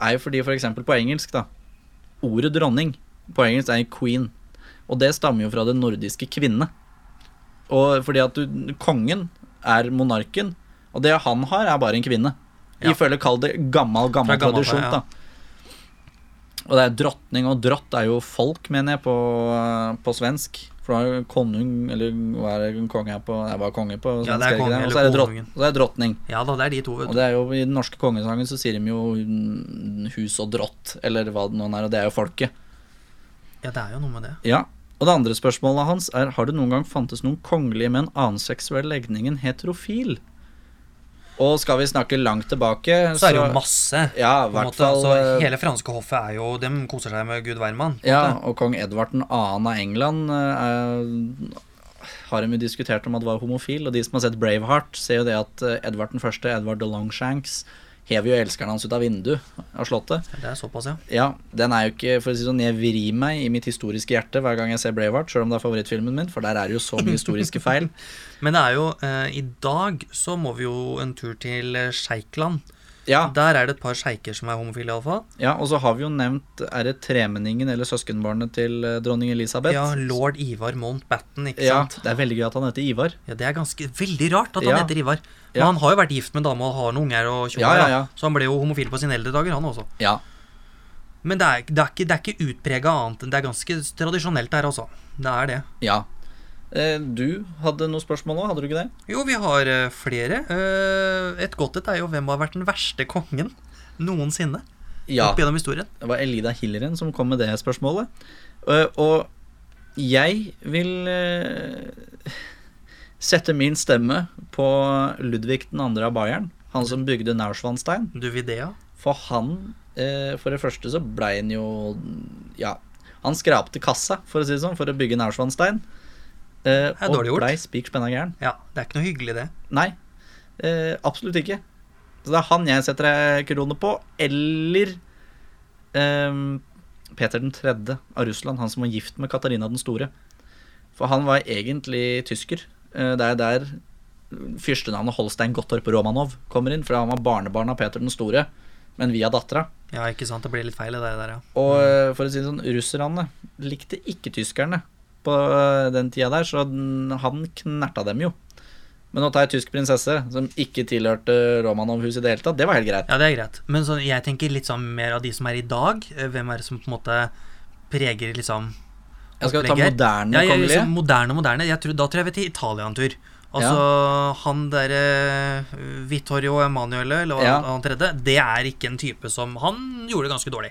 A: er jo fordi for eksempel på engelsk, da. Ordet dronning på engelsk er queen. Og det stammer jo fra det nordiske kvinne. Og fordi at du, kongen er monarken, og det han har, er bare en kvinne.
B: Ja.
A: Ifølge kall det gammel, gammel
B: Fra gammel,
A: tradisjon,
B: ja.
A: da. Og det er drottning, og drott er jo folk, mener jeg, på, eh, på svensk. For da er jo konung, eller hva er det konge er på Det er bare konge på svensk,
B: Ja, det er
A: ikke
B: konge
A: Og
B: eller
A: så er det drott-
B: konungen.
A: og så er det drottning.
B: Ja da, det er de to, vet
A: Og
B: du.
A: det er jo, I den norske kongesangen så sier de jo mm, hus og drott, eller hva det nå er, og det er jo folket.
B: Ja, det er jo noe med det.
A: Ja, Og det andre spørsmålet hans er har det noen gang fantes noen kongelige med en annen seksuell legning enn heterofil? Og skal vi snakke langt tilbake,
B: Så er det jo masse.
A: Ja, i
B: På en
A: hvert
B: måte,
A: fall
B: altså,
A: eh,
B: hele franske hoffet er jo Dem koser seg med gud hvermann. på en
A: Ja,
B: måte.
A: og kong Edvard 2. av England eh, er- har de jo diskutert om at var homofil, og de som har sett Braveheart, ser jo det at eh, Edvard 1., Edvard de Longshanks, hever jo elskeren hans ut av vinduet av slottet.
B: Det er såpass, ja.
A: Ja, den er jo ikke For å si det sånn, jeg vrir meg i mitt historiske hjerte hver gang jeg ser Braveheart, sjøl om det er favorittfilmen min, for der er det jo så mye historiske feil.
B: Men det er jo eh, I dag så må vi jo en tur til eh, sjeikland.
A: Ja,
B: Der er det et par sjeiker som er homofile, iallfall.
A: ja og så har vi jo nevnt Er det tremenningen eller søskenbarnet til eh, dronning Elisabeth?
B: Ja, lord Ivar Mountbatten, ikke
A: Ja,
B: sant.
A: det er veldig gøy at han heter Ivar.
B: Ja, Det er ganske veldig rart at han
A: Ja.
B: heter Ivar. Men
A: Ja.
B: han har jo vært gift med en dame og har noen unger, og tjo
A: Ja,
B: og hei,
A: ja, ja.
B: da. så han ble jo homofil på sine eldre dager, han også.
A: Ja.
B: Men det er, det er ikke, det er ikke utprega annet enn Det er ganske tradisjonelt der, altså. Det er det.
A: ja. Eh, Du hadde noe spørsmål nå, hadde du ikke det?
B: Jo, vi har eh, flere. Eh, Et godt et er jo hvem har vært den verste kongen noensinne
A: Ja.
B: opp gjennom historien.
A: Det var Elida Hilleren som kom med det spørsmålet. Eh, Og jeg vil eh, sette min stemme på Ludvig 2. av Bayern. Han som bygde Nauschwanstein.
B: Duvidea.
A: For han eh, For det første så blei han jo Ja, han skrapte kassa, for å si det sånn, for å bygge Nauschwanstein. Eh,
B: er dårlig gjort.
A: Og blei spik spenna gæren.
B: Ja, det er ikke noe hyggelig, det.
A: Nei, eh, absolutt ikke. Så det er han jeg setter ei krone på. Eller ehm, Peter den tredje av Russland, han som var gift med Katarina den store. For han var egentlig tysker. Eh, det er der fyrstenavnet Holstein Gottorp Romanov kommer inn, for han var barnebarn av Peter den store, men via dattera.
B: Ja, ikke sant. Det ble litt feil, det der, ja.
A: Og eh, for å si det sånn, russerne likte ikke tyskerne på eh, den tida der, så den- han knerta dem jo. Men å ta ei tysk prinsesse som ikke tilhørte Romanov-huset i det hele tatt, det var helt greit.
B: Ja, det er greit. Men sånn, jeg tenker litt sånn mer av de som er i dag. Eh, Hvem er det som på en måte preger liksom
A: Jeg skal ta
B: opplegget her?
A: moderne
B: Ja, jeg,
A: kongelige.
B: liksom, moderne, moderne. Jeg tror, da tror jeg vi er til Italia en tur. Altså, han derre Vittorio Emanuele, eller hva
A: Ja.
B: han tredje, det er ikke en type som Han gjorde det ganske dårlig.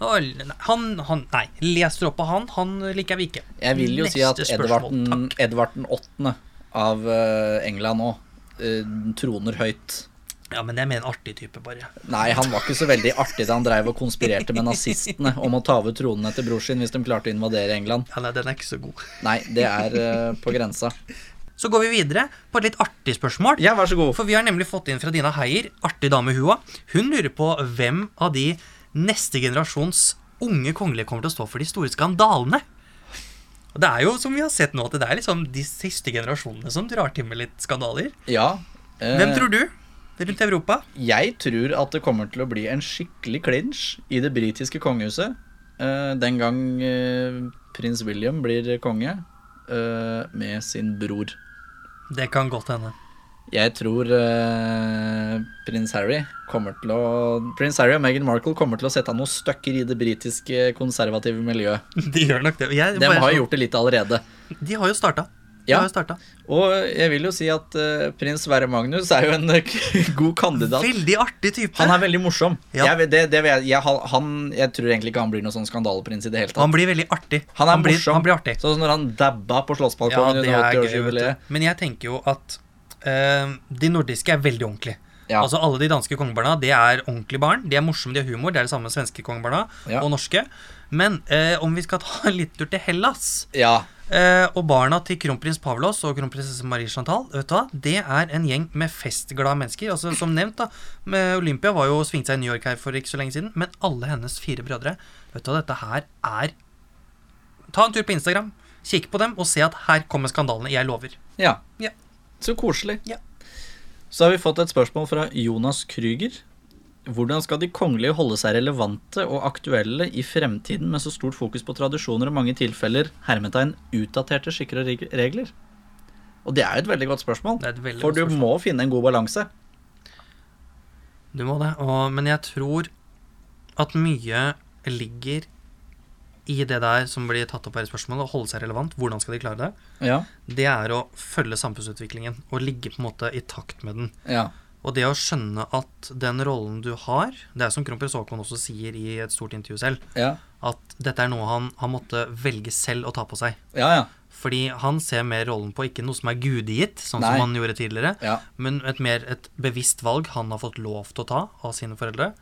B: Og Han, han Nei, les droppa han. Han liker vi ikke.
A: Jeg vil jo si at
B: Neste
A: Edvard
B: spørsmål,
A: den- Edvard den åttende av eh, England nå eh, troner høyt.
B: Ja, men det er mer en artig type, bare.
A: Nei, han var ikke så veldig artig da han dreiv og konspirerte med nazistene om å ta over tronen etter bror sin hvis de klarte å invadere England.
B: Ja, nei, den er ikke så god.
A: Nei, det er eh, på grensa.
B: Så går vi videre på et litt artig spørsmål.
A: Ja, vær så god.
B: For vi har nemlig fått inn fra Dina Heier, artig dame hua. Hun lurer på hvem av de neste generasjons unge kongelige kommer til å stå for de store skandalene. Og det er jo, som vi har sett nå, at det er liksom de siste generasjonene som drar til med litt skandaler.
A: Ja. eh,
B: Hvem tror du rundt Europa?
A: Jeg tror at det kommer til å bli en skikkelig clinch i det britiske kongehuset. eh, den gang eh, prins William blir konge eh, med sin bror.
B: Det kan godt hende.
A: Jeg tror eh, prins Harry kommer til å Prins Harry og Meghan Markle kommer til å sette noen støkker i det britiske konservative miljøet.
B: De gjør nok det. Og Jeg,
A: De
B: bare
A: har
B: så-
A: gjort det litt allerede.
B: de har jo starta. Det
A: Ja.
B: har jo starta.
A: Og jeg vil jo si at eh, prins Sverre Magnus er jo en god kandidat.
B: Veldig artig type.
A: Han er veldig morsom.
B: Ja.
A: Jeg, vet- det, det vet jeg, jeg, han- han, jeg tror egentlig ikke han blir noen sånn skandaleprins i det hele tatt.
B: Han blir veldig artig.
A: Han er
B: blir,
A: morsom.
B: Han blir artig.
A: Sånn som når han dabba på Slottsbalkongen under
B: vet
A: 80-årsjubileet.
B: du. Men jeg tenker jo at eh, de nordiske er veldig ordentlige.
A: Ja.
B: Altså Alle de danske kongebarna det er ordentlige barn. De er morsomme, de har humor. Det er det samme med svenske kongebarna
A: Ja.
B: og norske. Men eh, om vi skal ta en liten tur til Hellas
A: ja.
B: eh, og barna til kronprins Pavlos og kronprinsesse Marie Chantal, vet du hva? det er en gjeng med festglade mennesker. Altså Som nevnt, da. Med Olympia var jo og svingte seg i New York her for ikke så lenge siden. Men alle hennes fire brødre Vet du hva, dette her er Ta en tur på Instagram, kikk på dem, og se at her kommer skandalene. Jeg lover.
A: ja.
B: Ja.
A: Så koselig.
B: Ja.
A: Så har vi fått et spørsmål fra Jonas Krüger. Hvordan skal de kongelige holde seg relevante og aktuelle i fremtiden med så stort fokus på tradisjoner og mange tilfeller hermetegn utdaterte skikker og reg- regler? Og det er jo et veldig godt spørsmål,
B: Det er et veldig
A: for
B: godt
A: du
B: spørsmål.
A: må finne en god balanse.
B: Du må det. Og, men jeg tror at mye ligger i det der som blir tatt opp her i spørsmålet, å holde seg relevant. Hvordan skal de klare det?
A: Ja,
B: Det er å følge samfunnsutviklingen og ligge på en måte i takt med den.
A: ja,
B: Og det å skjønne at den rollen du har Det er som kronprins Haakon også sier i et stort intervju selv,
A: ja,
B: at dette er noe han, han måtte velge selv å ta på seg.
A: ja, ja,
B: Fordi han ser mer rollen på ikke noe som er gudegitt, sånn
A: Nei.
B: som han gjorde tidligere,
A: ja,
B: men et mer et bevisst valg han har fått lov til å ta av sine foreldre,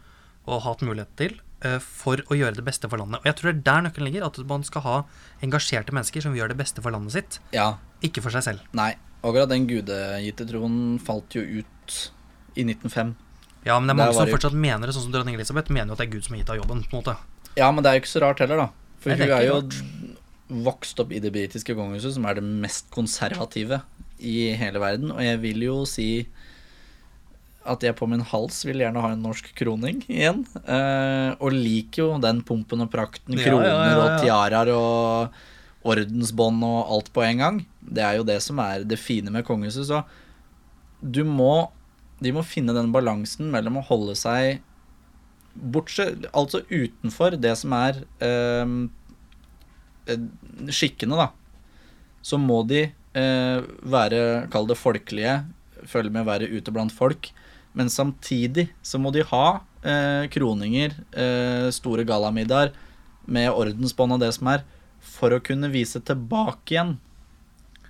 B: og hatt mulighet til, eh, for å gjøre det beste for landet. Og jeg tror det er der nøkkelen ligger, at man skal ha engasjerte mennesker som gjør det beste for landet sitt,
A: ja.
B: ikke for seg selv.
A: Nei, akkurat den gudegitte troen falt jo ut i 1905.
B: Ja, men
A: Der
B: det er
A: var
B: mange som
A: det-
B: fortsatt mener det, sånn som dronning Elisabeth mener jo at det er Gud som har gitt deg jobben, på en måte.
A: Ja, men det er jo ikke så rart heller, da. For
B: Nei, det
A: hun
B: er
A: er
B: ikke
A: jo vokst opp i det britiske kongehuset, som er det mest konservative i hele verden. Og jeg vil jo si at jeg på min hals vil gjerne ha en norsk kroning igjen. Eh, og liker jo den pumpen og prakten,
B: Ja,
A: kroner
B: ja, ja,
A: og
B: ja.
A: tiaraer og ordensbånd og alt på en gang. Det er jo det som er det fine med kongehuset. Så du må De må finne den balansen mellom å holde seg bortsett Altså utenfor det som er ehm, eh, skikkene, da. Så må de eh, være Kall det folkelige. Følge med å være ute blant folk. Men samtidig så må de ha eh, kroninger, eh, store gallamiddager med ordensbånd og det som er, for å kunne vise tilbake igjen.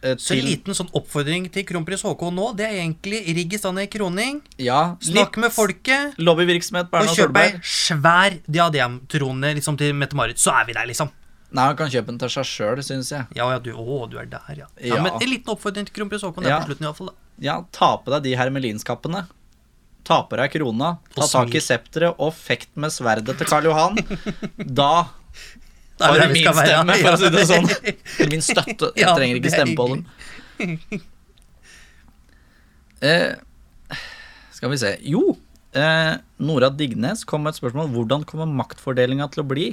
A: eh,
B: Så en liten sånn oppfordring til kronprins Haakon nå, det er egentlig rigg i stand ei kroning,
A: Ja,
B: snakk
A: litt
B: med folket,
A: Lobbyvirksomhet på
B: og
A: Erna
B: kjøp ei
A: Solberg.
B: svær diademtrone liksom, til Mette-Marit, så er vi der, liksom.
A: Nei, han kan kjøpe den til seg sjøl, syns jeg.
B: Ja, ja, du, å, du er der, ja. ja.
A: Ja.
B: Men en liten oppfordring til kronprins Haakon, det er
A: Ja.
B: på slutten iallfall, da.
A: Ja, ta på deg de hermelinskappene. Ta på deg krona, ta
B: Og
A: tak i
B: smil.
A: septeret og fekt med sverdet til Karl Johan. Da
B: Da
A: har
B: er
A: du
B: vi
A: min
B: der vi skal
A: stemme,
B: være.
A: for å si det
B: Ja.
A: sånn. Eller min støtte. Jeg
B: Ja,
A: trenger ikke
B: det er
A: stemme på den. Eh, skal vi se Jo, eh, Nora Dignes kom med et spørsmål. Hvordan kommer maktfordelinga til å bli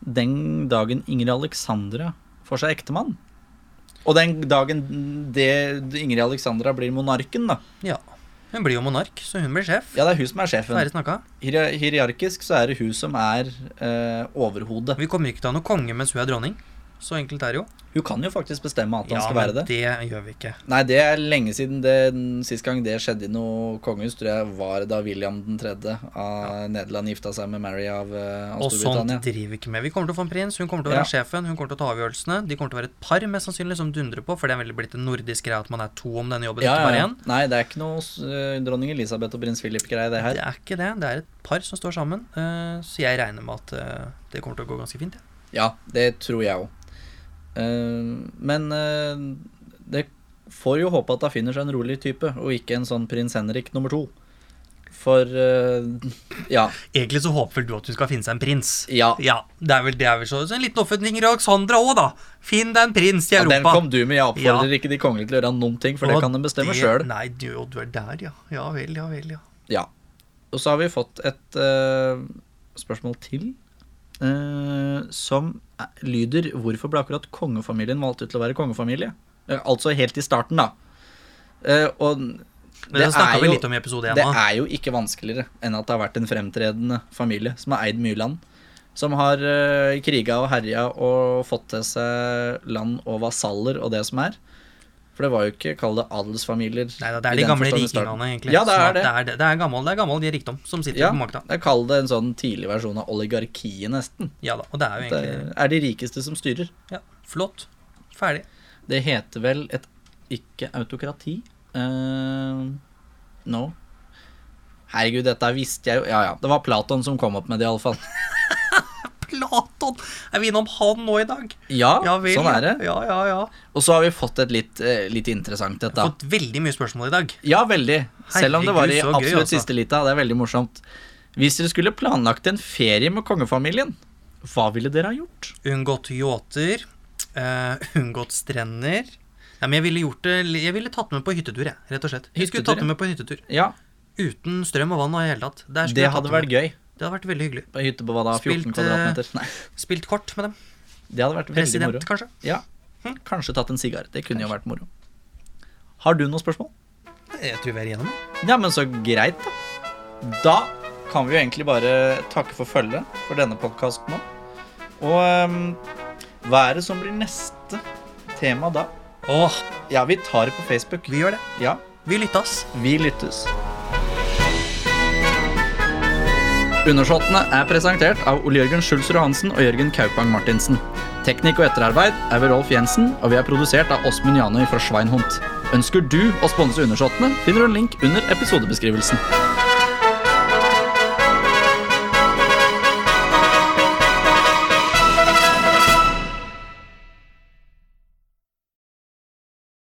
A: den dagen Ingrid Alexandra får seg ektemann? Og den dagen det Ingrid Alexandra blir monarken, da.
B: Ja. Hun blir jo monark, så hun blir sjef.
A: Ja, det er hun som er sjefen.
B: Ferdig snakka.
A: Hier- Hierarkisk så er det hun som er eh, overhodet.
B: Vi kommer ikke til å ha noen konge mens hun er dronning. Så enkelt er det jo.
A: Hun kan jo faktisk bestemme at han
B: Ja,
A: skal
B: men
A: være det.
B: det gjør vi ikke.
A: Nei, det er lenge siden. Det, den Sist gang det skjedde i noe kongehus, tror jeg var da William 3. av Nederland gifta seg med Mary av, eh, av
B: Og sånt
A: Storbritannia.
B: driver vi ikke med. Vi kommer til å få en prins, hun kommer til å være sjefen, hun kommer til å ta avgjørelsene. De kommer til å være et par mest sannsynlig som dundrer på, for det er veldig blitt en nordisk greie at man er to om denne jobben,
A: Ja,
B: ikke
A: ja,
B: bare
A: ja.
B: én.
A: Nei, det er ikke noe eh, dronning Elisabeth og prins Philip-greie, det her.
B: Det er ikke det. Det er et par som står sammen. eh, Så jeg regner med at eh, det kommer til å gå ganske fint. Ja.
A: Ja, det tror jeg òg. men eh, det får jo håpe at hun finner seg en rolig type, og ikke en sånn prins Henrik nummer to. For eh, Ja.
B: Egentlig så håper vel du at hun skal finne seg en prins.
A: ja.
B: Ja, det er vel det er vel så. så en liten oppfordring til Alexandra òg, da. Finn deg en prins i
A: Ja,
B: Europa.
A: den kom du med. Jeg oppfordrer ikke de kongelige til å gjøre noen ting, for det
B: Og
A: kan de bestemme
B: det-
A: sjøl.
B: Nei, du, og du er der, ja. Ja vel, ja vel, ja.
A: Ja. Og så har vi fått et eh, spørsmål til, eh, som er- lyder Hvorfor ble akkurat kongefamilien valgt ut til å være kongefamilie? Eh, altså helt i starten, da. Eh, og
B: Men det,
A: Det er
B: snakka vi
A: jo-
B: litt om i episode én
A: Det
B: òg.
A: er jo ikke vanskeligere enn at det har vært en fremtredende familie som har eid mye land. Som har eh, uh, kriga og herja og fått til seg land og vasaller og det som er. For det var jo ikke, kall det adelsfamilier.
B: Nei, det
A: i
B: er de
A: den
B: gamle
A: forstand i starten.
B: rikingene, egentlig.
A: Ja, det
B: Sånn
A: er
B: at
A: det.
B: Det er, det, det er gammel, det er gammel rikdom som sitter
A: Ja.
B: på makta.
A: Jeg kaller det en sånn tidlig versjon av oligarkiet, nesten.
B: Ja da. Og det er jo
A: Det
B: egentlig
A: er de rikeste som styrer.
B: ja, flott. Ferdig.
A: Det heter vel et ikke-autokrati. Uh, no. Herregud, dette visste jeg jo. Ja, ja. Det var Platon som kom opp med det, iallfall.
B: Platon! Er vi innom han nå i dag?
A: Ja,
B: Ja vel.
A: sånn er det.
B: Ja, ja, ja.
A: Og så har vi fått et litt, eh, litt interessant et,
B: Jeg har
A: da.
B: fått veldig mye spørsmål i dag.
A: Ja, veldig. Selv om det var i
B: Herregud, så gøy,
A: absolutt
B: altså.
A: siste lita. Det er veldig morsomt. Hvis dere skulle planlagt en ferie med kongefamilien, hva ville dere ha gjort?
B: Unngått yachter. eh, unngått strender. Nei, men jeg ville gjort det li- Jeg ville tatt med på hyttetur, jeg, rett og slett. Jeg skulle
A: Hyttetur,
B: tatt
A: ja.
B: det med på en hyttetur.
A: Ja,
B: Uten strøm og vann og i hele tatt. Der skulle
A: det
B: jeg tatt
A: hadde
B: med.
A: vært gøy.
B: det hadde vært veldig hyggelig.
A: På en hytte på hva da? 14
B: Spilt, eh,
A: kvadratmeter? Nei,
B: Spilt kort med dem.
A: det hadde vært veldig
B: President,
A: moro.
B: kanskje.
A: Ja. Hm, Kanskje tatt en sigar. Det kunne jo vært moro. Har du noen spørsmål?
B: Jeg tror vi er igjennom.
A: Ja, men så greit, da. Da kan vi jo egentlig bare takke for følget for denne podkasten nå. Og ehm, hva er det som blir neste tema da?
B: Åh,
A: Ja, vi tar det på Facebook.
B: vi gjør det.
A: Ja,
B: Vi lyttes.
A: vi lyttes. Undersåttene er presentert av Ole Jørgen Schulzer Johansen og Jørgen Kaupang Martinsen. Teknikk og etterarbeid er ved Rolf Jensen, og vi er produsert av Åsmund Janøy fra Schweinhund. Ønsker du å sponse Undersåttene, finner du en link under episodebeskrivelsen.